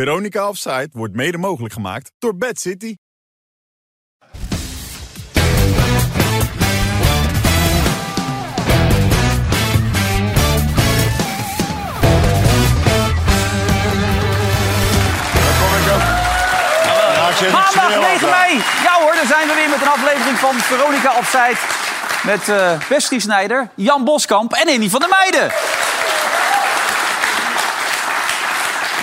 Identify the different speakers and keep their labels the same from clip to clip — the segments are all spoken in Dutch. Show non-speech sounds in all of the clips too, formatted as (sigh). Speaker 1: Veronica Offside wordt mede mogelijk gemaakt door Bad City.
Speaker 2: Maandag 9 mei. Ja hoor, daar zijn we weer met een aflevering van Veronica Opzijd. Met eh Bestie Snijder, Jan Boskamp en Annie van der Meijden.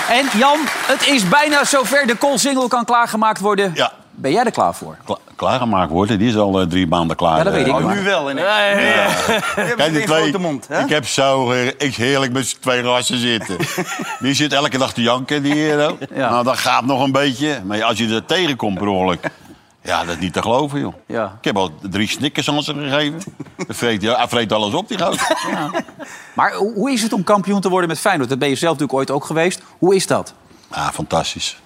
Speaker 2: En Jan, het is bijna zover de single kan klaargemaakt worden.
Speaker 3: Ja.
Speaker 2: Ben jij er klaar voor?
Speaker 3: Kla- klaargemaakt worden. Die is al eh, drie maanden klaar.
Speaker 2: Ja, dat weet ik.
Speaker 3: eh,
Speaker 2: maar.
Speaker 4: Oh, Nu wel. En ik heb
Speaker 3: Kijk, die
Speaker 4: een
Speaker 3: twee-
Speaker 4: grote mond. Hè?
Speaker 3: Ik heb zo eh, ik heerlijk met z'n twee rassen
Speaker 2: (laughs)
Speaker 3: zitten. die zit elke dag te janken, die hero.
Speaker 2: Ja.
Speaker 3: Nou, dat gaat nog een beetje. Maar als je er tegenkomt per ongeluk... Ja, dat is niet te geloven, joh.
Speaker 2: Ja.
Speaker 3: Ik heb al drie snickers aan ze gegeven. Dat vreet, hij- hij vreet alles op, die gozer.
Speaker 2: (laughs) Maar ho- hoe is het om kampioen te worden met Feyenoord? Dat ben je zelf natuurlijk ooit ook geweest. Hoe is dat?
Speaker 3: Ah, fantastisch.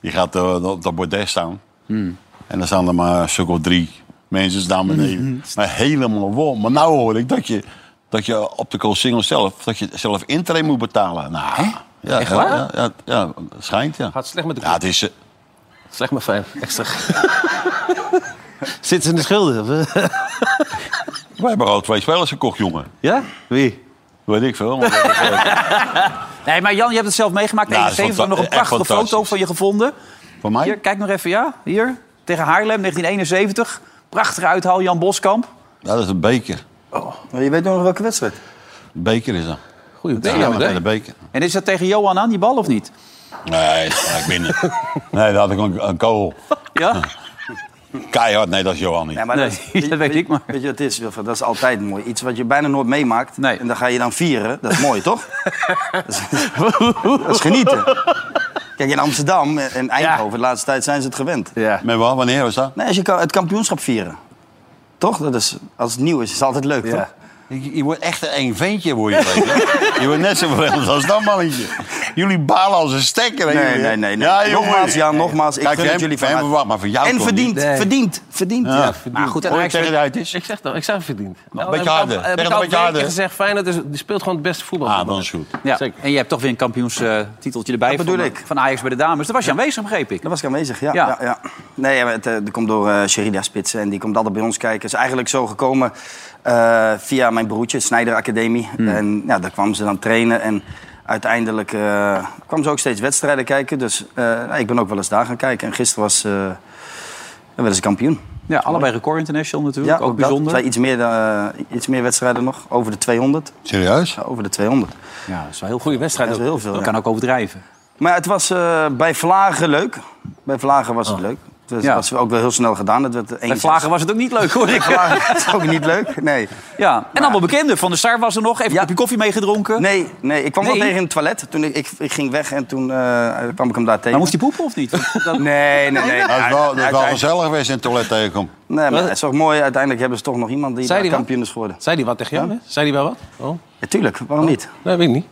Speaker 3: Je gaat eh, op dat bordes staan. En dan staan er maar een stuk of drie mensen staan beneden. Maar helemaal vol. Maar nou hoor ik dat je, dat je op de single zelf... dat je zelf intrain moet betalen. Nou, ja,
Speaker 2: Echt
Speaker 3: ja,
Speaker 2: waar?
Speaker 3: Ja, ja, ja, schijnt, ja.
Speaker 5: Gaat slecht met de
Speaker 3: Ja, het is... eh,
Speaker 5: Slecht maar fijn. Echt slecht.
Speaker 3: (laughs)
Speaker 5: Zitten ze in de schulden? of, eh?
Speaker 3: we hebben al twee spelers gekocht, jongen.
Speaker 5: Ja? Wie?
Speaker 3: Weet ik veel.
Speaker 2: (laughs)
Speaker 3: maar dat is, eh,
Speaker 2: Nee, maar Jan, je hebt het zelf meegemaakt.
Speaker 3: Nou, dat is
Speaker 2: 71, nog een
Speaker 3: fanta- echt
Speaker 2: prachtige foto
Speaker 3: fantastisch.
Speaker 2: van je gevonden.
Speaker 3: Voor
Speaker 2: Hier,
Speaker 3: mij?
Speaker 2: kijk nog even, ja. Hier, tegen Haarlem, 1971. Prachtige uithaal, Jan Boskamp.
Speaker 3: Ja, dat is een beker.
Speaker 4: Oh, Maar je weet nog welke wedstrijd.
Speaker 3: Een beker is dat.
Speaker 5: Goeie
Speaker 3: Ja,
Speaker 5: beker,
Speaker 3: maar
Speaker 5: hè?
Speaker 3: de beker.
Speaker 2: En is dat tegen Johan aan, die bal, of niet?
Speaker 3: Nee, dat ga ik binnen. Nee, daar had ik een, een kogel.
Speaker 2: Ja?
Speaker 3: Keihard, nee, dat is Johan niet.
Speaker 4: Ja, maar
Speaker 2: Nee, (laughs) dat weet ik maar.
Speaker 4: Weet je wat het is, Wilfred? Dat is altijd mooi. Iets wat je bijna nooit meemaakt.
Speaker 2: Nee.
Speaker 4: En dan ga je dan vieren. Dat is mooi,
Speaker 2: (laughs)
Speaker 4: toch? dat, is, dat is genieten. Kijk, in Amsterdam en Eindhoven, de laatste tijd zijn ze het gewend.
Speaker 5: Ja.
Speaker 3: Met wat? Wanneer was dat?
Speaker 4: Nee, als je ka- het kampioenschap vieren. Toch? Dat is, als het nieuw is, is het altijd leuk, toch?
Speaker 3: Je, je wordt echt een eng ventje, word je. weet je. je wordt net zo vervelend als dat mannetje. Jullie balen als een stekker. hè,
Speaker 4: Nee,
Speaker 3: jullie, hè?
Speaker 4: nee, nee, nee.
Speaker 3: Ja,
Speaker 4: nogmaals,
Speaker 3: jongen.
Speaker 4: ja, nogmaals. Ik
Speaker 3: Kijk,
Speaker 4: gun
Speaker 3: voor
Speaker 4: het
Speaker 3: hem-
Speaker 4: jullie
Speaker 3: voor
Speaker 4: van
Speaker 3: hem
Speaker 4: harte.
Speaker 3: verwacht, maar voor jou
Speaker 4: En
Speaker 3: toch
Speaker 4: verdiend,
Speaker 3: niet.
Speaker 5: Nee.
Speaker 4: verdiend, verdiend.
Speaker 3: Ja.
Speaker 4: Ja. Nou,
Speaker 2: Maar goed, en
Speaker 3: Hoor je tegen
Speaker 2: Ajax...
Speaker 3: de uit is?
Speaker 5: Ik zeg dat, ik zeg verdiend. Nou,
Speaker 3: beetje
Speaker 5: heb ik al-
Speaker 3: harder.
Speaker 5: Heb
Speaker 3: Zeg
Speaker 5: ik al
Speaker 3: het een beetje
Speaker 5: weken
Speaker 3: harder.
Speaker 5: gezegd, Feyenoord is, die speelt gewoon het beste voetbal.
Speaker 3: Ah, dan is goed.
Speaker 2: Ja,
Speaker 5: Zeker.
Speaker 2: en je hebt toch weer een kampioenstiteltje erbij
Speaker 4: Dat
Speaker 2: van,
Speaker 4: bedoel ik.
Speaker 2: van Ajax bij de dames. Daar was je aanwezig, begreep ik.
Speaker 4: Daar was ik aanwezig, ja.
Speaker 2: Ja.
Speaker 4: ja. ja, Nee, ja, maar het, eh, dat komt door eh Sherida Spitsen en die komt altijd bij ons kijken. is eigenlijk zo gekomen eh, via mijn broertje, Snijder Academie. En ja, daar kwam ze dan trainen en uiteindelijk eh, kwam ze ook steeds wedstrijden kijken. Dus eh, nou, ik ben ook wel eens daar gaan kijken. En gisteren was eh wel eens kampioen.
Speaker 2: Ja, allebei record international natuurlijk, ook
Speaker 4: dat.
Speaker 2: bijzonder.
Speaker 4: Zij iets, meer, eh, iets meer wedstrijden nog, over de 200.
Speaker 3: Serieus?
Speaker 4: Ja, Over de 200.
Speaker 2: Ja, dat is wel heel goed.
Speaker 5: Goede wedstrijd
Speaker 4: Dat is
Speaker 5: ook.
Speaker 4: wel heel veel.
Speaker 2: Dat
Speaker 4: ja.
Speaker 2: kan ook overdrijven.
Speaker 4: Maar het was eh, bij Vlagen leuk. Bij Vlagen was het leuk. Dat
Speaker 2: Oh. Ja.
Speaker 4: was ook wel heel snel gedaan. Dat werd
Speaker 2: Bij Vlagen was het ook niet leuk,
Speaker 4: (laughs)
Speaker 2: hoor ik.
Speaker 4: is ook niet leuk. Nee.
Speaker 2: Ja, en allemaal bekenden. Van de Sar was er nog, even een
Speaker 4: Ja.
Speaker 2: kopje koffie meegedronken.
Speaker 4: Nee, nee, ik kwam
Speaker 2: Nee?
Speaker 4: wel tegen in het toilet. Toen ik, ik, ik ging weg en toen eh, kwam ik hem daar tegen.
Speaker 2: Maar moest hij poepen
Speaker 4: (laughs)
Speaker 2: of niet? Dat-
Speaker 4: Nee, nee, nee.
Speaker 3: Dat is wel, dat is wel
Speaker 4: Uiteindelijk-
Speaker 3: gezellig geweest in het toilet tegenkomt.
Speaker 4: nee, maar het is toch mooi. Uiteindelijk hebben ze toch nog iemand die
Speaker 5: Zei
Speaker 4: daar
Speaker 5: die wat?
Speaker 4: kampioen is geworden.
Speaker 5: Zei die wat tegen jou? hè? Zei die wel wat? Oh.
Speaker 4: Ja, tuurlijk, waarom niet?
Speaker 5: Nee, weet ik niet.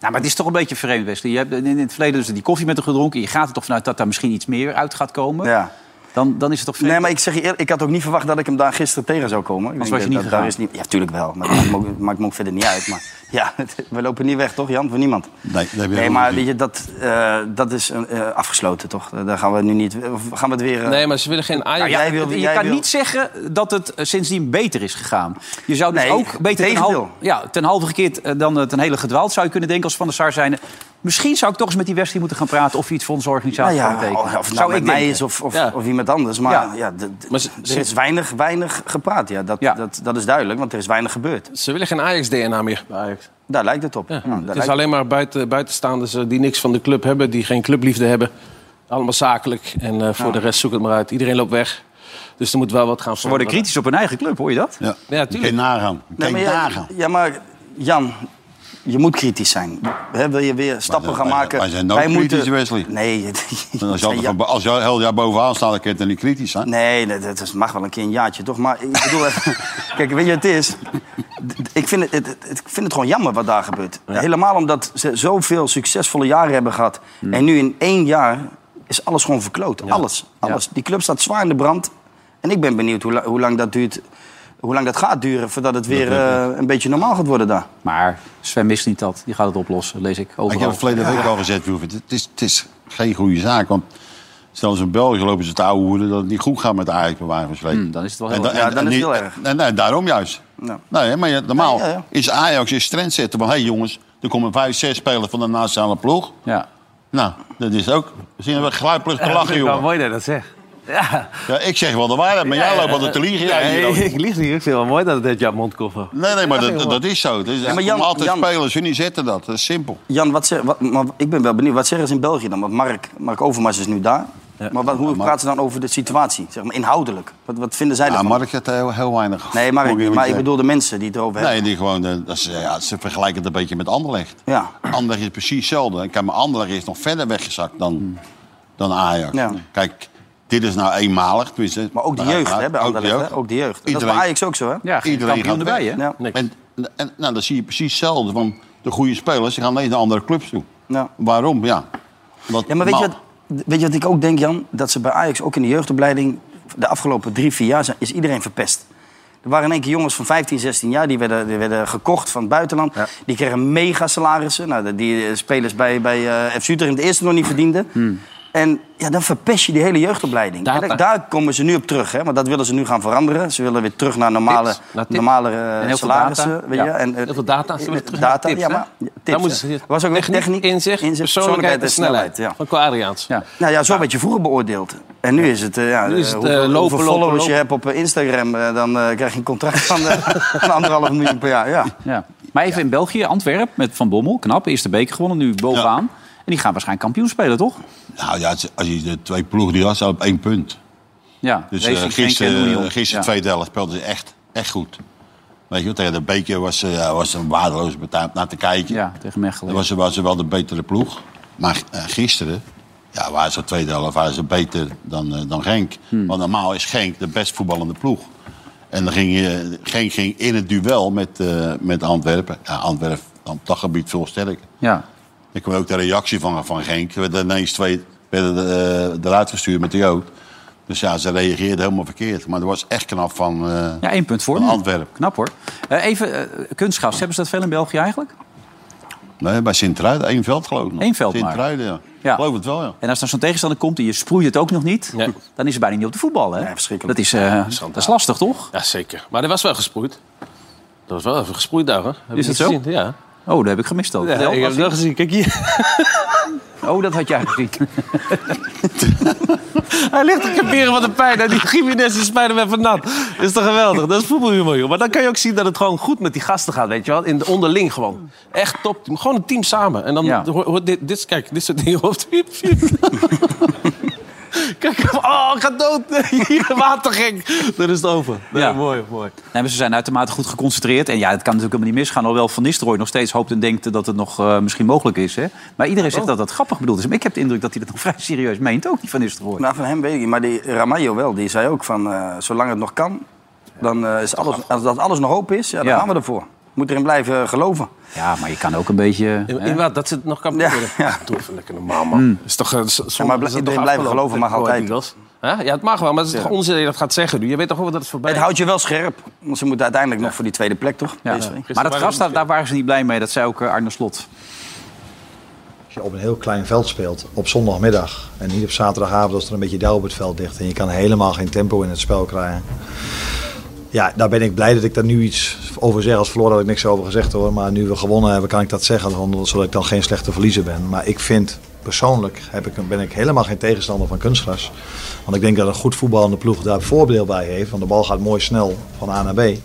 Speaker 2: Nou, maar het is toch een beetje vreemd, Wesley. Je hebt in het verleden dus die koffie met hem gedronken. Je gaat er toch vanuit dat daar misschien iets meer uit gaat komen.
Speaker 4: Ja.
Speaker 2: Dan, dan is het toch vreemd.
Speaker 4: Nee, maar ik zeg je eerlijk, ik had ook niet verwacht dat ik hem daar gisteren tegen zou komen. Ik
Speaker 2: was
Speaker 4: denk
Speaker 2: je
Speaker 4: dat-
Speaker 2: niet gegaan?
Speaker 4: dat daar is niet. (laughs) Ja, tuurlijk wel. Maar dat maakt me ook, maakt me ook verder niet uit. Maar ja, we lopen niet weg, toch Jan? Voor niemand.
Speaker 3: Nee, dat heb je
Speaker 4: Nee,
Speaker 3: ook
Speaker 4: maar
Speaker 3: niet.
Speaker 4: weet je, dat, eh, dat is eh, afgesloten, toch? Daar gaan we nu niet... Of gaan we het weer... eh,
Speaker 5: Nee, maar ze willen geen Ajax.
Speaker 4: Ja, jij wil-
Speaker 2: je
Speaker 4: jij
Speaker 2: kan
Speaker 4: wil-
Speaker 2: niet zeggen dat het eh, sindsdien beter is gegaan. Je zou dus
Speaker 4: Nee,
Speaker 2: ook beter ten,
Speaker 4: tegendeel.
Speaker 2: hal- ja, ten halve gekeerd eh, dan eh, ten hele gedwaald zou je kunnen denken als Van der Sar zijn. Misschien zou ik toch eens met die Wesley moeten gaan praten... of hij iets voor onze
Speaker 4: Nou
Speaker 2: organisatie
Speaker 4: ja,
Speaker 2: kan betekenen.
Speaker 4: of het nou
Speaker 2: zou
Speaker 4: met
Speaker 2: ik
Speaker 4: mij
Speaker 2: denken.
Speaker 4: is of, of,
Speaker 5: Ja.
Speaker 4: of iemand anders. Maar,
Speaker 2: Ja.
Speaker 4: ja. d- d-
Speaker 5: Maar ze-
Speaker 4: er is weinig, weinig gepraat. Ja. Dat,
Speaker 2: Ja.
Speaker 4: Dat, dat is duidelijk, want er is weinig gebeurd.
Speaker 5: Ze willen geen Ajax-DNA meer bij Ajax.
Speaker 4: Daar lijkt het op. Ja,
Speaker 5: Ja.
Speaker 4: daar
Speaker 5: het is
Speaker 4: lijkt-
Speaker 5: alleen maar buiten, buitenstaanders eh, die niks van de club hebben, die geen clubliefde hebben. Allemaal zakelijk. En eh, voor de rest zoek het maar uit. Iedereen loopt weg. Dus er moet wel wat gaan
Speaker 2: Ze worden
Speaker 5: veranderen.
Speaker 2: kritisch op hun eigen club, hoor je dat?
Speaker 3: Ja,
Speaker 5: tuurlijk.
Speaker 3: Je kunt nagaan. Je
Speaker 4: Nee,
Speaker 3: kunt
Speaker 4: maar ja,
Speaker 3: nagaan.
Speaker 4: ja, maar Jan, je moet kritisch zijn. Hè, wil je weer stappen
Speaker 3: Wij-
Speaker 4: gaan
Speaker 3: wij-
Speaker 4: maken?
Speaker 3: wij zijn nooit kritisch, Wesley.
Speaker 4: Nee, (laughs)
Speaker 3: En Als je,
Speaker 4: nee,
Speaker 3: altijd van- als je heel jaar bovenaan staat, dan kun je er niet kritisch zijn.
Speaker 4: Nee, dat, dat is- mag wel een keer een jaartje, toch? Maar ik bedoel, (laughs) kijk, weet je wat het is? D- Ik vind het, het, het- ik vind het gewoon jammer wat daar gebeurt. Helemaal omdat ze zoveel succesvolle jaren hebben gehad.
Speaker 3: Hmm.
Speaker 4: En nu in één jaar is alles gewoon verkloot. Alles, alles. Die club staat zwaar in de brand. En ik ben benieuwd hoe, la- hoe lang dat duurt. hoe lang dat gaat duren voordat het weer eh, een beetje normaal gaat worden daar.
Speaker 2: Maar Sven mist niet dat. Die gaat het oplossen, lees ik
Speaker 3: Ik heb
Speaker 2: overal.
Speaker 3: het verleden week al gezegd, Wilfred. Het is, het is geen goede zaak. Want zelfs in België lopen ze te oude hoeden dat het niet goed gaat met Ajax bij wijze van spreken.
Speaker 2: Hmm, dan is het wel heel
Speaker 3: En da-
Speaker 2: erg.
Speaker 4: Ja,
Speaker 3: en-
Speaker 4: dan
Speaker 3: en
Speaker 4: is het
Speaker 3: niet-
Speaker 4: heel erg.
Speaker 3: en- nee, daarom juist.
Speaker 4: Ja.
Speaker 3: Nee, maar ja, normaal
Speaker 4: Ja, ja, ja.
Speaker 3: is Ajax is trend zetten. Maar hé hey, jongens, er komen vijf, zes spelers van de nationale ploeg.
Speaker 2: Ja.
Speaker 3: Nou, dat is ook... We zien we gluiperig te lachen,
Speaker 6: Nou,
Speaker 3: jongen.
Speaker 6: mooi dat je dat zegt. Ja.
Speaker 3: Ja, ik zeg wel de waarheid, maar jij loopt altijd
Speaker 5: eh,
Speaker 3: te liegen. jij hier
Speaker 6: Nee,
Speaker 5: (laughs)
Speaker 3: ook.
Speaker 6: ik lieg niet. Ik vind het wel mooi dat het uit jouw mond komt.
Speaker 3: Nee, nee, maar dat, dat is zo. Dat is,
Speaker 4: maar Jan-
Speaker 3: er komen altijd
Speaker 4: Jan-
Speaker 3: spelers, hun zetten dat. Dat is simpel.
Speaker 4: Jan, wat ze- wat, maar ik ben wel benieuwd, wat zeggen ze in België dan? Want Mark, Mark Overmars is nu daar. Maar wat, hoe praten ze dan over de situatie, zeg maar, inhoudelijk? Wat, wat vinden zij
Speaker 3: Ja,
Speaker 4: ervan?
Speaker 3: Mark heeft heel, heel weinig.
Speaker 4: nee,
Speaker 3: moet
Speaker 4: Mark,
Speaker 3: eerlijk
Speaker 4: maar ik
Speaker 3: zeggen.
Speaker 4: bedoel de mensen die het erover hebben.
Speaker 3: Nee, die gewoon, eh, dat ze, ja, ze vergelijken het een beetje met Anderlecht.
Speaker 4: Ja.
Speaker 3: Anderlecht is precies hetzelfde. En Kijk, maar Anderlecht is nog verder weggezakt dan, dan Ajax.
Speaker 4: Ja.
Speaker 3: Kijk, dit is nou eenmalig. tenminste.
Speaker 4: Maar ook de
Speaker 3: Nou,
Speaker 4: jeugd,
Speaker 3: nou,
Speaker 4: hè, bij Anderlecht. hè? Ook de jeugd. Dat is bij
Speaker 3: Iedereen-
Speaker 4: Ajax ook zo, hè?
Speaker 2: Ja, geen
Speaker 3: Iedereen
Speaker 2: kampioen
Speaker 3: gaat
Speaker 2: erbij,
Speaker 3: weg.
Speaker 2: hè?
Speaker 4: Ja.
Speaker 5: Niks.
Speaker 3: En, en nou, dan zie je precies hetzelfde. Van de goede spelers die gaan ineens naar andere clubs toe.
Speaker 4: Ja.
Speaker 3: Waarom? Ja. Omdat-
Speaker 4: Ja, maar weet, je wat, weet je wat ik ook denk, Jan? Dat ze bij Ajax ook in de jeugdopleiding... de afgelopen drie, vier jaar zijn- is iedereen verpest. Er waren in één keer jongens van 15, 16 jaar... die werden, die werden gekocht van het buitenland. Die kregen mega salarissen. Nou, de- die eh, spelers bij, bij eh FC Utrecht in het eerste nog niet verdienden. En ja, dan verpest je die hele jeugdopleiding.
Speaker 5: Data.
Speaker 4: En Daar, daar komen ze nu op terug, hè? want dat willen ze nu gaan veranderen. Ze willen weer terug naar normale,
Speaker 5: Tips, naar tips.
Speaker 4: normale
Speaker 2: heel
Speaker 4: eh,
Speaker 2: veel
Speaker 4: salarissen.
Speaker 2: data.
Speaker 4: Weet je?
Speaker 2: Ja.
Speaker 4: En, eh,
Speaker 5: Heel veel data. Ze willen terug naar
Speaker 4: data,
Speaker 5: tips,
Speaker 4: ja,
Speaker 5: hè?
Speaker 4: maar
Speaker 5: Daar
Speaker 4: tips,
Speaker 5: moeten
Speaker 4: hè.
Speaker 5: ze-
Speaker 4: was ook
Speaker 5: techniek, inzicht, persoonlijkheid en snelheid.
Speaker 4: ja.
Speaker 5: Van Kwariaans.
Speaker 2: Ja.
Speaker 4: Nou ja, zo werd je vroeger beoordeeld. En nu is het, eh, ja,
Speaker 5: Nu is het,
Speaker 4: hoeveel,
Speaker 5: eh, lopen,
Speaker 4: hoeveel
Speaker 5: lopen,
Speaker 4: followers
Speaker 5: lopen.
Speaker 4: je hebt op eh, Instagram, eh, dan eh, krijg je een contract van, eh, (laughs) van anderhalf miljoen per jaar. Ja.
Speaker 2: Ja. Maar even in België, Antwerp, met Van Bommel. Knap, eerste beker gewonnen, nu bovenaan. En die gaan waarschijnlijk kampioen spelen, toch?
Speaker 3: Nou ja, als je- als je de twee ploegen die had, staan op één punt.
Speaker 2: Ja,
Speaker 3: Dus
Speaker 2: Racing
Speaker 3: eh,
Speaker 2: Genk en Union.
Speaker 3: gisteren, gisteren
Speaker 2: Ja.
Speaker 3: tweede helft speelden ze echt, echt goed. Weet je, wel, tegen de Beker was, eh, ja, was een waardeloze partij om naar te kijken.
Speaker 2: Ja, tegen Mechelen.
Speaker 3: Dan was, ze- was ze wel de betere ploeg. Maar eh, gisteren ja, waren ze tweede helft waren ze beter dan, eh, dan Genk.
Speaker 2: Hmm.
Speaker 3: Want normaal is Genk de best voetballende ploeg. En dan ging, je- Genk ging in het duel met, eh, met Antwerpen. Ja, Antwerpen op dat gebied veel sterker.
Speaker 2: Ja.
Speaker 3: Ik kwam ook de reactie van, van Genk. We werden ineens twee werden, eh, eruit gestuurd met de Jood. Dus ja, ze reageerden helemaal verkeerd. Maar dat was echt knap van... eh,
Speaker 2: ja, één punt voor nu.
Speaker 3: Antwerp.
Speaker 2: Knap, hoor. Eh, even, eh, kunstgras, hebben ze dat veel in België eigenlijk?
Speaker 3: nee, bij Sint-Truiden. één veld geloof ik nog.
Speaker 2: Eén veld maar.
Speaker 3: Sint-Truiden, ja.
Speaker 2: Ja.
Speaker 3: Geloof het wel, ja.
Speaker 2: En als er zo'n tegenstander komt en je sproeit het ook nog niet...
Speaker 5: Nee.
Speaker 2: dan is het bijna niet op de voetbal, hè?
Speaker 4: Nee, verschrikkelijk.
Speaker 2: Dat is, eh, dat is lastig, toch?
Speaker 5: Ja, zeker. Maar er was wel gesproeid. Er was wel even gesproeid daar, hoor. Heb
Speaker 2: Is
Speaker 5: je
Speaker 2: dat
Speaker 5: niet gezien? Ja.
Speaker 2: Oh, dat heb ik gemist ook.
Speaker 5: ja ik heb het wel gezien. Kijk hier.
Speaker 2: (laughs) Oh, dat had jij gezien.
Speaker 5: Hij ligt te kaperen van de pijn. En die Jiménez is Spider-Man van nat. Is toch geweldig? Dat is voetbalhumor, joh. Maar dan kan je ook zien dat het gewoon goed met die gasten gaat, weet je wel. In de onderling gewoon. Echt top. Gewoon een team samen. En dan
Speaker 2: Ja.
Speaker 5: hoor- hoor dit, dit, kijk, dit soort dingen hoort. (laughs) Kijk, oh, ik ga dood. Hier, watergek. Dat is het over. (laughs) Nee,
Speaker 2: Ja.
Speaker 5: Mooi, mooi.
Speaker 2: Nee, maar ze zijn uitermate goed geconcentreerd. En ja, het kan natuurlijk helemaal niet misgaan. Alhoewel Van Nistelrooy nog steeds hoopt en denkt dat het nog eh, misschien mogelijk is. Hè? Maar iedereen
Speaker 5: Oh.
Speaker 2: zegt dat dat grappig bedoeld is. Maar ik heb de indruk dat hij dat nog (laughs) vrij serieus meent. Ook die Van Nistelrooy.
Speaker 4: Nou, van hem weet ik niet, maar die Ramalho wel. Die zei ook van, eh, zolang het nog kan, dan eh, is alles, als dat alles nog hoop is, ja, dan
Speaker 2: Ja.
Speaker 4: gaan we ervoor. Moet erin blijven eh, geloven.
Speaker 2: Ja, maar je kan ook een beetje...
Speaker 5: In,
Speaker 2: hè? Hmm.
Speaker 5: inderdaad, dat ze het nog kan
Speaker 4: Ja,
Speaker 5: proberen. Ah,
Speaker 4: ja.
Speaker 5: Doe even lekker normaal, man. Is toch, eh, z-
Speaker 4: maar
Speaker 5: zondag
Speaker 4: bl-
Speaker 5: is het
Speaker 4: iedereen
Speaker 5: toch
Speaker 4: blijven
Speaker 5: afgelopen Oh,
Speaker 4: geloven mag
Speaker 5: voor
Speaker 4: altijd.
Speaker 5: Eagles? Hè? Ja, het mag wel, maar het is toch onzin dat je dat gaat zeggen nu? Je weet toch wel dat het voorbij
Speaker 4: Het houdt je wel scherp, want ze moeten uiteindelijk nog voor die tweede plek, toch?
Speaker 2: Ja.
Speaker 4: PSV.
Speaker 2: Maar dat gras, daar, daar waren ze niet blij mee. Dat zei ook eh, Arne Slot.
Speaker 7: Als je op een heel klein veld speelt op zondagmiddag en niet op zaterdagavond als er een beetje dauw op het veld ligt en je kan helemaal geen tempo in het spel krijgen. Ja, daar ben ik blij dat ik daar nu iets over zeg. Als verloren had ik niks over gezegd hoor, maar nu we gewonnen hebben kan ik dat zeggen, want- zodat ik dan geen slechte verliezer ben. Maar ik vind persoonlijk heb ik, ben ik helemaal geen tegenstander van kunstgras. Want ik denk dat een goed voetballende ploeg daar voordeel bij heeft, want de bal gaat mooi snel van A naar B.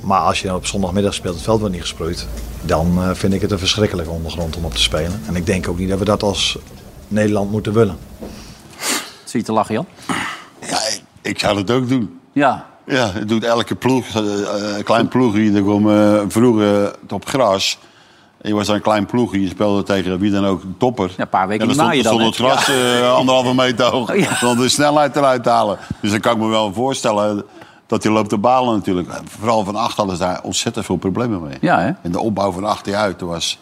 Speaker 7: Maar als je dan op zondagmiddag speelt, het veld wordt niet gesproeid. Dan eh, vind ik het een verschrikkelijke ondergrond om op te spelen. En ik denk ook niet dat we dat als Nederland moeten willen.
Speaker 2: Zie je te lachen, Jan?
Speaker 3: ja ik, ik zou het ook doen.
Speaker 2: Ja.
Speaker 3: Ja, het doet elke ploeg. eh, eh, klein ploegje, daar kwam eh, vroeger het op gras. Je was dan een klein ploegje, je speelde tegen wie dan ook, een topper.
Speaker 2: Ja, een paar weken
Speaker 3: en dan
Speaker 2: na
Speaker 3: stond,
Speaker 2: je dan,
Speaker 3: stond het gras eh, anderhalve meter hoog.
Speaker 4: (laughs)
Speaker 2: Oh, ja.
Speaker 3: Dan de snelheid eruit te halen. Dus dan kan ik me wel voorstellen dat hij loopt de balen natuurlijk. Vooral van acht hadden ze daar ontzettend veel problemen mee.
Speaker 2: Ja, hè?
Speaker 3: En de opbouw van achteruit was,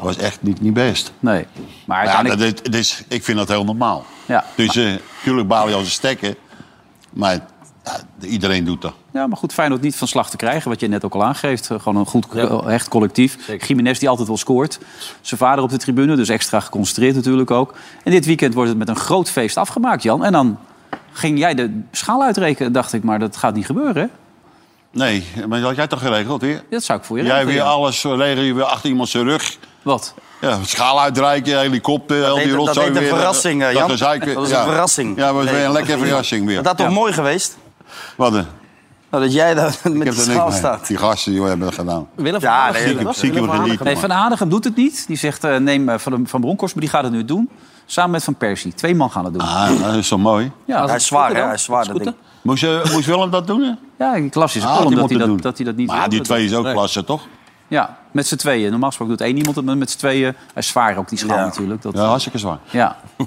Speaker 3: was echt niet, niet best.
Speaker 2: Nee. Maar
Speaker 3: Ja,
Speaker 2: uiteindelijk...
Speaker 3: dat, dat is, ik vind dat heel normaal. eh,
Speaker 2: Ja.
Speaker 3: Dus natuurlijk baal je als een stekker. Maar Ja, iedereen doet dat.
Speaker 2: Ja, maar goed, Feyenoord niet van slag te krijgen, wat je net ook al aangeeft. Eh, Gewoon een goed, eh, hecht collectief. Jiménez die altijd wel scoort. Zijn vader op de tribune, dus extra geconcentreerd natuurlijk ook. En dit weekend wordt het met een groot feest afgemaakt, Jan. En dan ging jij de schaal uitrekenen, dacht ik, maar dat gaat niet gebeuren, hè?
Speaker 3: Nee, maar dat had jij toch geregeld weer?
Speaker 2: Dat zou ik voor je
Speaker 3: Jij
Speaker 2: regelen,
Speaker 3: weer
Speaker 2: Jan.
Speaker 3: alles regelen, je weer achter iemand zijn rug.
Speaker 2: Wat?
Speaker 3: Ja, schaal uitreiken, helikopter, al die
Speaker 4: heet- dat
Speaker 3: rotzooi
Speaker 4: heet een
Speaker 3: weer.
Speaker 4: verrassing, eh, Jan.
Speaker 3: gezeik weer.
Speaker 4: Dat is een
Speaker 3: Ja.
Speaker 4: verrassing.
Speaker 3: Ja, maar het is weer een
Speaker 4: Nee.
Speaker 3: lekkere verrassing weer.
Speaker 4: Dat had toch mooi geweest?
Speaker 3: Wat een-
Speaker 4: Nou, dat jij daar (laughs) met
Speaker 3: Ik
Speaker 4: de
Speaker 3: heb er niks
Speaker 4: schaal
Speaker 3: mee.
Speaker 4: staat.
Speaker 3: Die gasten die hebben dat gedaan.
Speaker 5: Willem van
Speaker 4: Ja,
Speaker 5: Hanegem.
Speaker 4: nee,
Speaker 5: Willem
Speaker 3: Ik heb
Speaker 5: van
Speaker 3: ziek
Speaker 5: Hanegem.
Speaker 3: geliefd.
Speaker 2: Nee, Van Aardigem doet het niet. Die zegt, eh, neem eh, Van, van Bronckhorst, maar die gaat het nu doen. Samen met Van Persie. Twee man gaan het doen.
Speaker 3: Ah, dat is zo mooi.
Speaker 2: Ja,
Speaker 4: Hij is zwaar, hè? Hij is zwaar,
Speaker 2: dat
Speaker 4: dat
Speaker 2: is goed,
Speaker 4: ding.
Speaker 3: Moest, eh, moest Willem dat doen? hè?
Speaker 2: hè? Ja, ik las in zijn
Speaker 3: Ah,
Speaker 2: column
Speaker 3: die
Speaker 2: dat hij
Speaker 3: moet het
Speaker 2: dat,
Speaker 3: doen.
Speaker 2: dat hij dat niet
Speaker 3: Maar
Speaker 2: wilde
Speaker 3: die
Speaker 2: doen.
Speaker 3: twee is ook klasse, toch?
Speaker 2: Ja, met z'n tweeën. Normaal gesproken doet één iemand het, maar met z'n tweeën. Hij is zwaar ook, die schaal
Speaker 4: Ja.
Speaker 2: natuurlijk. Dat, eh,
Speaker 3: Ja, hartstikke zwaar.
Speaker 2: ja. (laughs)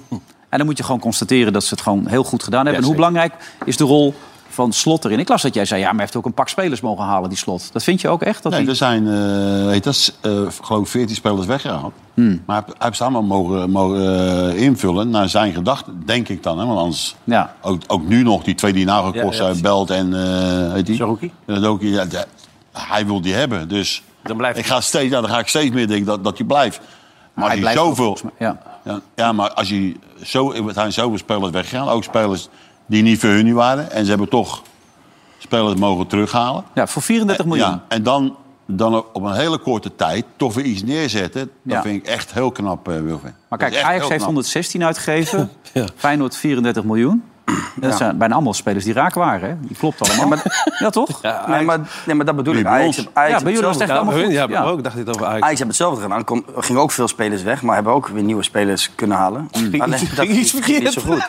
Speaker 2: En dan moet je gewoon constateren dat ze het gewoon heel goed gedaan hebben. en hoe
Speaker 5: zeker.
Speaker 2: belangrijk is de rol van Slot erin? Ik las dat jij zei, ja, maar hij heeft ook een pak spelers mogen halen, die Slot. Dat vind je ook echt? Dat
Speaker 3: Nee,
Speaker 2: die-
Speaker 3: er zijn, eh, weet dat, eh geloof ik, 14 spelers weggehaald.
Speaker 2: Hmm.
Speaker 3: Maar hij heeft- hij heeft ze allemaal mogen, mogen eh, invullen naar zijn gedachten, denk ik dan. Hè? Want anders,
Speaker 2: Ja.
Speaker 3: ook, ook nu nog, die twee die nagekost
Speaker 5: Ja, ja,
Speaker 3: zijn,
Speaker 5: precies.
Speaker 3: Belt en... eh heet die?
Speaker 5: Saruki?
Speaker 3: Saruki, ja, de- hij wil die hebben, dus...
Speaker 5: Dan blijft
Speaker 3: ik
Speaker 5: hij.
Speaker 3: ga steeds, ja, dan ga ik steeds meer denken dat, dat hij blijft. Maar als
Speaker 2: hij
Speaker 3: je
Speaker 2: blijft ook,
Speaker 3: zoveel...
Speaker 2: volgens mij. Ja.
Speaker 3: Ja, ja, maar als je zo, er zijn zoveel spelers weggegaan. Ook spelers die niet voor hun waren. En ze hebben toch spelers mogen terughalen.
Speaker 2: ja, voor 34 miljoen.
Speaker 3: Ja, en dan, dan op een hele korte tijd toch weer iets neerzetten. Dat
Speaker 2: Ja.
Speaker 3: vind ik echt heel knap, eh, Wilfred.
Speaker 2: Maar
Speaker 3: Dat
Speaker 2: kijk,
Speaker 3: is echt
Speaker 2: Ajax
Speaker 3: heel
Speaker 2: heeft
Speaker 3: knap.
Speaker 2: 116
Speaker 5: (laughs)
Speaker 2: uitgegeven. Feyenoord 34 miljoen. Dat zijn bijna allemaal spelers die raak waren. Hè? Die klopt allemaal. Ja, toch? Ja,
Speaker 4: Nee maar, nee, maar dat bedoel ik.
Speaker 3: bij
Speaker 4: Ajax,
Speaker 3: ons.
Speaker 4: Ajax heeft
Speaker 2: bij jullie was
Speaker 4: hetzelfde
Speaker 2: het echt
Speaker 4: gedaan.
Speaker 2: allemaal
Speaker 5: Hun,
Speaker 2: goed.
Speaker 5: ja,
Speaker 2: Ja.
Speaker 5: ook dacht dit over Ajax.
Speaker 4: Ajax heeft hetzelfde gedaan. Er kon- Er gingen ook veel spelers weg, maar hebben ook weer nieuwe spelers kunnen
Speaker 3: (laughs)
Speaker 4: halen. Alleen, dat
Speaker 5: iets- ging iets
Speaker 4: ging niet
Speaker 5: verkeerd.
Speaker 4: zo goed.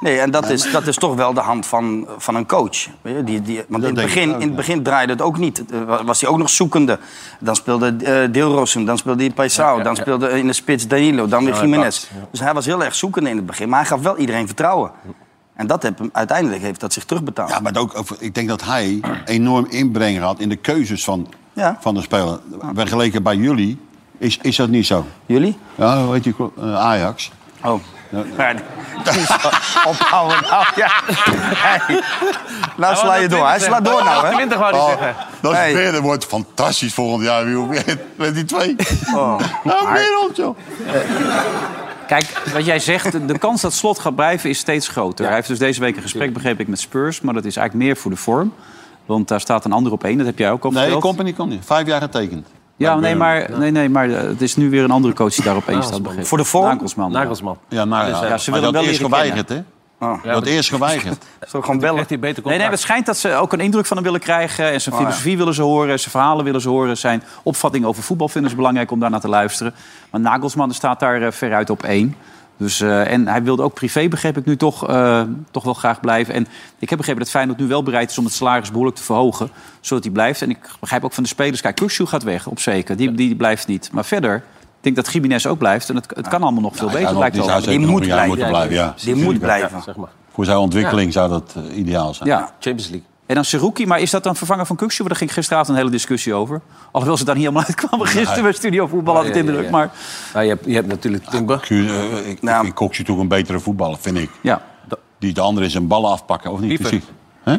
Speaker 4: Nee, en dat is, dat is toch wel de hand van, van een coach. Weet je, Die, die, want in het,
Speaker 3: denk ik
Speaker 4: begin,
Speaker 3: ook,
Speaker 4: in het
Speaker 3: ja.
Speaker 4: begin draaide het ook niet. Eh, wa- Was hij ook nog zoekende. Dan speelde eh Deelrossum, dan speelde hij Paisao... dan speelde eh, in de spits Danilo, dan weer Jiménez. Dus hij was heel erg zoekende in het begin. Maar hij gaf wel iedereen vertrouwen. En dat heb, hem- uiteindelijk heeft dat zich terugbetaald.
Speaker 3: Ja, maar ook, over- ik denk dat hij enorm inbreng had in de keuzes van,
Speaker 4: Ja.
Speaker 3: van de speler. Vergeleken bij jullie is, is dat niet zo.
Speaker 4: Jullie?
Speaker 3: Ja, hoe heet die club? Eh, Ajax.
Speaker 4: Oh. Maar,
Speaker 3: (laughs)
Speaker 4: ophouden nou, ja. Hey. Nou sla je door. Hij slaat door nou, hè?
Speaker 5: 20 wou hij zeggen.
Speaker 3: dat
Speaker 4: Nee.
Speaker 3: Beren wordt fantastisch volgend jaar. Wiel. (laughs) Met die twee.
Speaker 4: Oh.
Speaker 3: Nou, wereld, joh.
Speaker 2: Kijk, wat jij zegt, de kans dat Slot gaat blijven is steeds groter. Hij heeft dus deze week een gesprek, begreep ik, met Spurs. Maar dat is eigenlijk meer voor de vorm. Want daar staat een ander op één, dat heb jij ook al
Speaker 3: Nee,
Speaker 2: verteld.
Speaker 3: Company komt niet. Vijf jaar getekend.
Speaker 2: ja, nee, maar, nee, nee, maar eh, het is nu weer een andere coach die daar op één staat. begreep ik.
Speaker 4: Voor de vorm?
Speaker 2: Nagelsman.
Speaker 5: Nagelsman. Dus, eh,
Speaker 3: Ja, nou, ja.
Speaker 2: ja, ze
Speaker 3: Maar
Speaker 2: willen
Speaker 3: dat
Speaker 2: wel
Speaker 3: eerst
Speaker 2: leren
Speaker 3: geweigerd, hè?
Speaker 4: Oh.
Speaker 3: Dat eerst
Speaker 2: (laughs)
Speaker 3: geweigerd.
Speaker 4: Zo gewoon bellen.
Speaker 5: Echt die beter
Speaker 2: Nee, nee, maar
Speaker 5: contract.
Speaker 2: het schijnt dat ze ook een indruk van hem willen krijgen. En zijn filosofie willen ze horen, zijn verhalen willen ze horen. Zijn opvatting over voetbal vinden ze belangrijk om daarnaar te luisteren. Maar Nagelsman staat daar eh, veruit op één. Dus, eh, en hij wilde ook privé, begreep ik nu, toch, eh, toch wel graag blijven. En ik heb begrepen dat Feyenoord nu wel bereid is om het salaris behoorlijk te verhogen. Zodat hij blijft. En ik begrijp ook van de spelers, kijk, Kurshu gaat weg, op zeker. Die, die blijft niet. Maar verder, ik denk dat Jiménez ook blijft. En het, het kan allemaal nog veel
Speaker 3: Ja,
Speaker 2: beter,
Speaker 3: nog-
Speaker 2: lijkt
Speaker 3: die
Speaker 2: het
Speaker 3: zou
Speaker 2: wel.
Speaker 4: Die
Speaker 3: zeker nog
Speaker 4: moet
Speaker 3: een jaar
Speaker 4: blijven.
Speaker 3: moeten blijven. Ja,
Speaker 4: Die moet blijven.
Speaker 5: zeg maar.
Speaker 3: Voor zijn ontwikkeling zou dat eh, ideaal zijn.
Speaker 2: Ja.
Speaker 5: Champions League.
Speaker 2: En dan Seruki, maar is dat dan vervanger van Kukshu? Want Daar ging gisteravond een hele discussie over. Alhoewel ze daar niet helemaal uitkwamen gisteren bij Studio Voetbal, had ik
Speaker 5: Ja,
Speaker 2: het
Speaker 5: ja, ja,
Speaker 2: indruk.
Speaker 5: ja.
Speaker 2: Maar
Speaker 5: Nou, je, hebt, je hebt natuurlijk Timber.
Speaker 3: Ik, eh, ik,
Speaker 4: Nou.
Speaker 3: ik vind Kokje toch een betere voetballer, vind ik.
Speaker 2: ja,
Speaker 3: Die de andere is een ballen afpakken, of niet?
Speaker 5: Wiever.
Speaker 3: Precies.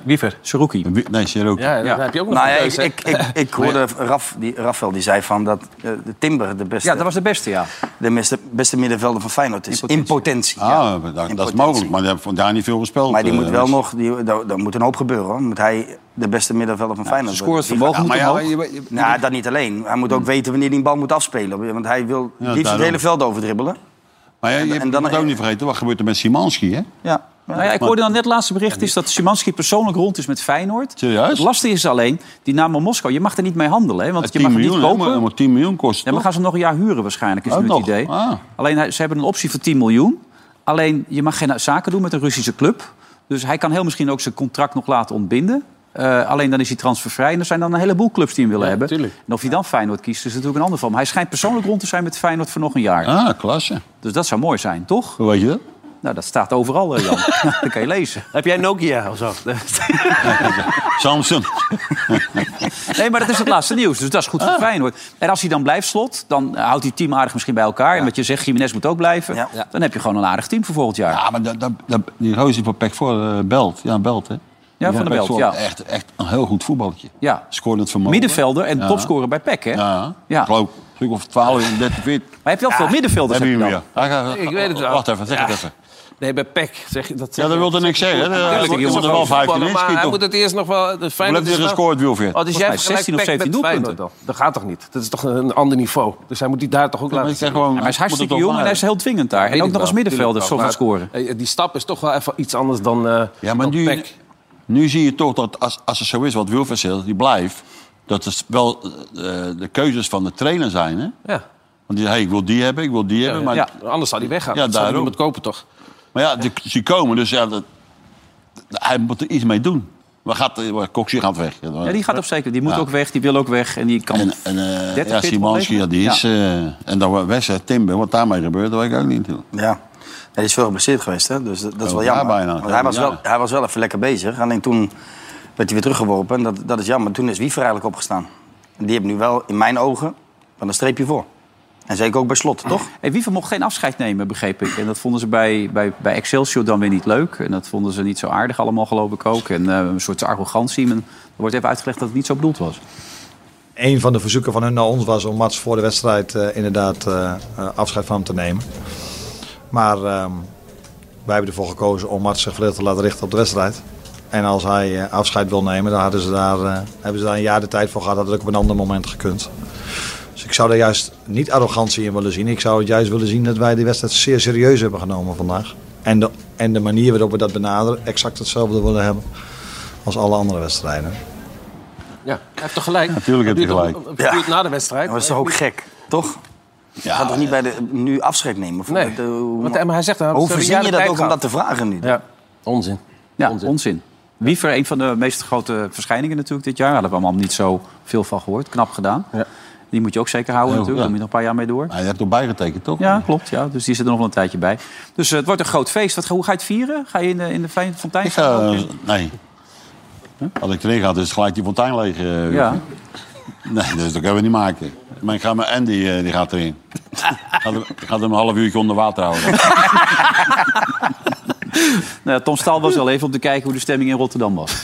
Speaker 5: Wiever.
Speaker 2: Seruki.
Speaker 3: Wie- Nee, zeer ook.
Speaker 5: Ja,
Speaker 2: Ja.
Speaker 5: daar heb je ook nog
Speaker 4: Nou ja,
Speaker 5: een
Speaker 4: ik,
Speaker 5: keuze, hè?
Speaker 4: ik, ik,
Speaker 5: (laughs)
Speaker 4: ik hoorde Raf, die, Rafael die zei van dat eh, de Timber de beste,
Speaker 2: Ja, dat was de beste, ja.
Speaker 4: de beste, beste middenvelder van Feyenoord is.
Speaker 2: potentie.
Speaker 4: In potentie.
Speaker 3: Ah,
Speaker 4: ja.
Speaker 3: dat-
Speaker 4: In
Speaker 3: dat, is
Speaker 4: potentie.
Speaker 3: mogelijk, maar die hebben vandaar niet veel gespeeld.
Speaker 4: Maar die
Speaker 3: eh,
Speaker 4: moet wel
Speaker 3: dus.
Speaker 4: nog, die, daar, daar moet een hoop gebeuren hoor. Moet hij de beste middenvelder van Feyenoord
Speaker 2: Scoort het
Speaker 4: worden?
Speaker 2: vermogen moet
Speaker 3: Maar ja,
Speaker 2: omhoog.
Speaker 3: je, je-
Speaker 4: Nou, dat niet alleen. Hij moet ook weten wanneer hij een bal moet afspelen. Want hij wil liefst het
Speaker 3: daarom.
Speaker 4: hele veld overdribbelen.
Speaker 3: maar ja, je,
Speaker 4: en
Speaker 3: hebt-
Speaker 4: dan-
Speaker 3: moet ook niet vergeten, wat gebeurt er met Simanski, hè?
Speaker 4: Ja.
Speaker 2: Nou ja, ik hoorde dan net het laatste bericht is dat Szymanski persoonlijk rond is met Feyenoord.
Speaker 3: Serieus?
Speaker 2: Het lastige is alleen, die naam van Moskou, je mag er niet mee handelen. Hè, want je
Speaker 3: 10
Speaker 2: mag hem niet
Speaker 3: miljoen, hè, maar,
Speaker 2: kopen.
Speaker 3: maar 10 miljoen kost
Speaker 2: Ja,
Speaker 3: het,
Speaker 2: maar gaan ze hem nog een jaar huren waarschijnlijk, is
Speaker 3: Ook
Speaker 2: nu het
Speaker 3: nog?
Speaker 2: idee.
Speaker 3: Ah.
Speaker 2: Alleen hij- ze hebben een optie voor 10 miljoen. Alleen je mag geen zaken doen met een Russische club. Dus hij kan heel misschien ook zijn contract nog laten ontbinden. Eh, alleen dan is hij transfervrij. En er zijn dan een heleboel clubs die hem willen hebben.
Speaker 5: tuurlijk.
Speaker 2: En of hij dan Feyenoord kiest, is natuurlijk een ander van. Maar hij schijnt persoonlijk rond te zijn met Feyenoord voor nog een jaar.
Speaker 3: toch? Ah, klasse.
Speaker 2: Dus dat zou mooi zijn, toch?
Speaker 3: Hoe weet je dat?
Speaker 2: Nou, dat staat overal, eh, Jan. (laughs) Nou, dat kan je lezen.
Speaker 5: Heb jij Nokia
Speaker 2: (laughs)
Speaker 5: of zo?
Speaker 3: Samson.
Speaker 2: Nee, maar dat is het laatste nieuws. Dus dat is
Speaker 3: Ah.
Speaker 2: goed voor Feyenoord. En als hij dan blijft slot, dan eh, houdt hij het team aardig misschien bij elkaar. En wat je zegt, Jiménez moet ook blijven.
Speaker 4: Ja.
Speaker 2: Dan heb je gewoon een aardig team voor volgend jaar.
Speaker 3: Ja, maar dat, dat, dat- die roos die voor Pek voor eh, belt. Ja, belt, hè?
Speaker 2: Ja, Van der Belt. Ja.
Speaker 3: Echt, echt een heel goed voetballetje.
Speaker 2: Ja.
Speaker 3: Scoorde het vermogen.
Speaker 2: Middenvelder en
Speaker 3: Ja.
Speaker 2: topscorer bij PEC, hè?
Speaker 3: Ja,
Speaker 2: Ja.
Speaker 3: ik geloof een stuk of 12, en 13, 14.
Speaker 2: Maar heb je wel veel middenvelders?
Speaker 3: Hebben
Speaker 2: heb je
Speaker 3: jullie
Speaker 2: dan?
Speaker 3: hem weer? Ja,
Speaker 5: Ik weet het wel.
Speaker 3: Wacht even, zeg het even.
Speaker 5: Nee, bij Peck zeg je dat.
Speaker 3: Ja, dat wilde niks zeggen. hè.
Speaker 5: Ja,
Speaker 3: Hij
Speaker 5: dat
Speaker 3: moet
Speaker 5: is
Speaker 3: er
Speaker 5: een
Speaker 3: wel
Speaker 5: goed
Speaker 3: vijf
Speaker 5: voetballer,
Speaker 3: in
Speaker 5: maar hij
Speaker 3: schieten.
Speaker 5: moet het eerst nog wel. Het
Speaker 3: Hoe
Speaker 5: Feyenoord
Speaker 3: heeft hij
Speaker 5: is wel-
Speaker 3: gescoord, Wilfried?
Speaker 5: Oh, dus jij
Speaker 2: mij
Speaker 5: hebt
Speaker 2: 16
Speaker 5: 16
Speaker 2: of
Speaker 5: of
Speaker 2: 17 doelpunten.
Speaker 5: dan. Dat gaat toch niet? Dat is toch een ander niveau. Dus hij moet die daar toch ook
Speaker 3: Maar
Speaker 5: laten
Speaker 3: ik zeg
Speaker 5: zien.
Speaker 3: gewoon,
Speaker 2: Ja, maar hij is
Speaker 3: moet het
Speaker 2: hartstikke
Speaker 3: toch
Speaker 2: jong en
Speaker 3: maar-
Speaker 2: hij is heel dwingend daar.
Speaker 5: Weet
Speaker 2: En ook
Speaker 5: ik
Speaker 2: nog
Speaker 5: wel,
Speaker 2: als middenvelder zo
Speaker 5: tuurlijk
Speaker 2: gaan
Speaker 5: wel. Maar,
Speaker 2: scoren.
Speaker 5: eh, Die stap is toch wel even iets anders dan. eh,
Speaker 3: Ja, maar
Speaker 5: dan
Speaker 3: nu,
Speaker 5: Peck.
Speaker 3: nu zie je toch dat als, als het zo is wat Wilfred zegt, die blijft. Dat het wel eh, de keuzes van de trainer zijn. Hè?
Speaker 5: Ja.
Speaker 3: Want die zegt, hey, ik wil die hebben, ik wil die hebben. Maar,
Speaker 5: ja, anders zou hij weggaan.
Speaker 3: Ja,
Speaker 5: Ja, zou
Speaker 3: daarom.
Speaker 5: hij iemand kopen toch?
Speaker 3: maar ja, die, die komen, dus ja, dat, hij moet er iets mee doen. Waar gaat, eh, waar, Coxie gaat weg.
Speaker 2: Ja, die gaat op zeker. Die moet ook weg, die wil ook weg. En die kan...
Speaker 3: En, en eh,
Speaker 2: 30,
Speaker 3: ja,
Speaker 2: 40
Speaker 3: Simanski, ja, die
Speaker 2: opleveren.
Speaker 3: is... eh, en dan wedstrijd Timber, wat daarmee gebeurt, dat weet ik ook niet. joh.
Speaker 4: Ja. Hij is veel geblesseerd geweest, hè? dus dat, dat is
Speaker 3: Oh,
Speaker 4: wel
Speaker 3: ja,
Speaker 4: jammer.
Speaker 3: bijna.
Speaker 4: Want hij, was
Speaker 3: Ja.
Speaker 4: wel, hij was wel even lekker bezig. Alleen toen werd hij weer teruggeworpen. En dat, dat is jammer. Toen is Wiever eigenlijk opgestaan. En die heeft nu wel, in mijn ogen, wel een streepje voor. En zeker ook bij slot, toch?
Speaker 2: (clears throat) Hey, Wiever mocht geen afscheid nemen, begreep ik. En dat vonden ze bij, bij, bij Excelsior dan weer niet leuk. En dat vonden ze niet zo aardig allemaal, geloof ik ook. En eh, een soort arrogantie. Men, er wordt even uitgelegd dat het niet zo bedoeld was.
Speaker 7: een van de verzoeken van hun naar ons was om Mats voor de wedstrijd eh, inderdaad eh, eh, afscheid van hem te nemen. Maar ehm, wij hebben ervoor gekozen om Mats zich volledig te laten richten op de wedstrijd. En als hij eh, afscheid wil nemen, dan hadden ze daar, eh, hebben ze daar een jaar de tijd voor gehad. Dat had ook op een ander moment gekund. Dus ik zou daar juist niet arrogantie in willen zien. Ik zou het juist willen zien dat wij die wedstrijd zeer serieus hebben genomen vandaag. En de, en de manier waarop we dat benaderen, exact hetzelfde willen hebben als alle andere wedstrijden.
Speaker 5: Ja, hij heeft toch gelijk.
Speaker 3: Natuurlijk heeft hij gelijk.
Speaker 5: Hij duurt
Speaker 4: Ja.
Speaker 5: na de wedstrijd.
Speaker 4: Dat was toch ook gek, toch?
Speaker 3: Ja,
Speaker 4: Gaat toch niet bij de, nu afscheid nemen? Voor
Speaker 5: Nee,
Speaker 4: de- hoe-
Speaker 5: want, eh, maar hij zegt...
Speaker 4: hoe verzin je dat ook om dat te vragen nu?
Speaker 5: Ja, onzin.
Speaker 2: Ja, onzin. Wiever, een van de meest grote verschijningen natuurlijk dit jaar. Daar hebben we allemaal niet zo veel van gehoord. Knap gedaan. Die moet je ook zeker houden
Speaker 3: Heel,
Speaker 2: natuurlijk. Daar
Speaker 3: ja.
Speaker 2: moet je nog een paar jaar mee door.
Speaker 3: Hij heeft toch bijgetekend, toch?
Speaker 2: Ja, klopt. Ja. Dus die zit er nog wel een tijdje bij. Dus eh, het wordt een groot feest. Wat, ga- hoe ga je het vieren? Ga je in de, in de fijn- fontein?
Speaker 3: Ik ga... nee. Als ik erin ga, is gelijk die fontein leeg. eh,
Speaker 2: ja.
Speaker 3: Nee, dus dat kunnen we niet maken. Maar ik ga met Andy, eh, die gaat (laughs) erin. Ik ga hem- Ik ga hem een half uurtje onder water houden.
Speaker 2: Nou, ja, Tom Staal was al even om te kijken hoe de stemming in Rotterdam
Speaker 3: (laughs)
Speaker 2: was.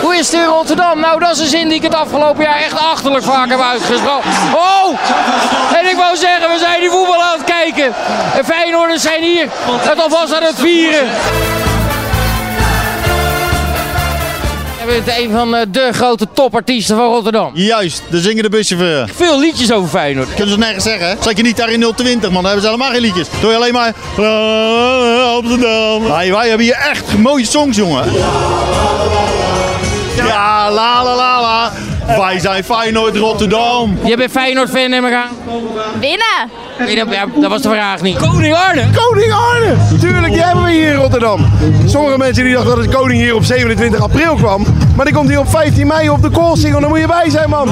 Speaker 8: Hoe is het in Rotterdam? Nou, dat is een zin die ik het afgelopen jaar echt achterlijk vaak heb uitgesproken. Oh! En ik wou zeggen, we zijn die voetbal aan het kijken. En Feyenoorders zijn hier. Het alvast aan het vieren. We hebben een van eh, de grote topartiesten van Rotterdam.
Speaker 9: Juist, de zingende buschauffeur.
Speaker 8: Veel liedjes over Feyenoord.
Speaker 9: Kunnen ze nergens zeggen, hè? Zeker niet daar in 020, man. Daar hebben ze helemaal geen liedjes. Doe je alleen maar... eh, Amsterdam. Nee, wij hebben hier echt mooie songs, jongen. Ja, la la la la. Wij zijn Feyenoord Rotterdam.
Speaker 8: Je bent Feyenoord-fan, neem ik aan.
Speaker 10: Winnen!
Speaker 8: Nee, dat, ja, dat was de vraag niet. Koning Arne!
Speaker 9: Koning Arne! Tuurlijk, die hebben we hier in Rotterdam. Sommige mensen die dachten dat de koning hier op 27 april kwam. Maar die komt hier op 15 mei op de koolsingel. Daar moet je bij zijn, man.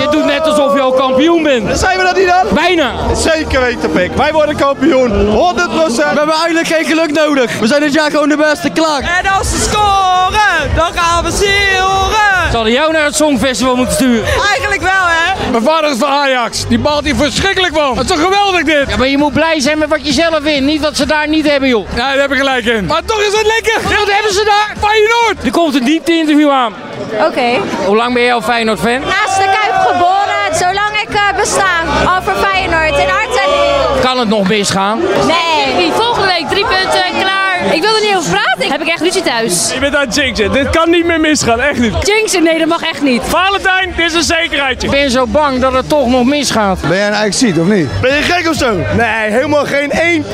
Speaker 8: Je doet net alsof je al kampioen bent.
Speaker 9: Zijn we dat niet dan?
Speaker 8: Bijna.
Speaker 9: Zeker weten, Pik. Wij worden kampioen. 100%. We hebben eigenlijk geen geluk nodig. We zijn dit jaar gewoon de beste. Klaar.
Speaker 8: En als ze scoren, dan gaan we zeuren. Ze hadden jou naar het Songfestival moeten sturen. Eigenlijk wel, hè? Mijn vader is van Ajax. Die balt hier verschrikkelijk van. Dat is toch geweldig, dit? Ja, maar je moet blij zijn met wat je zelf wint. Niet wat ze daar niet hebben, joh. Ja, daar heb ik gelijk in. Maar toch is het lekker. Wat hebben ze daar? Feyenoord. Er komt een diepte-interview aan.
Speaker 10: Oké.
Speaker 8: Hoe lang ben jij al Feyenoord-fan?
Speaker 10: Naast de Kuip geboren, zolang ik eh, besta. Al voor Feyenoord, in hart en ziel.
Speaker 8: Kan het nog misgaan?
Speaker 10: Nee. Volgende week drie punten en klaar. Ik wil er niet over praten. Heb ik echt ruzie thuis.
Speaker 8: Je bent aan het Dit kan niet meer misgaan, echt niet.
Speaker 10: Jinxen, nee, dat mag echt niet.
Speaker 8: Valentijn, dit is een zekerheidje. Ik ben zo bang dat het toch nog misgaat.
Speaker 9: Ben jij een ajax of niet?
Speaker 11: Ben je gek of zo? Nee, helemaal geen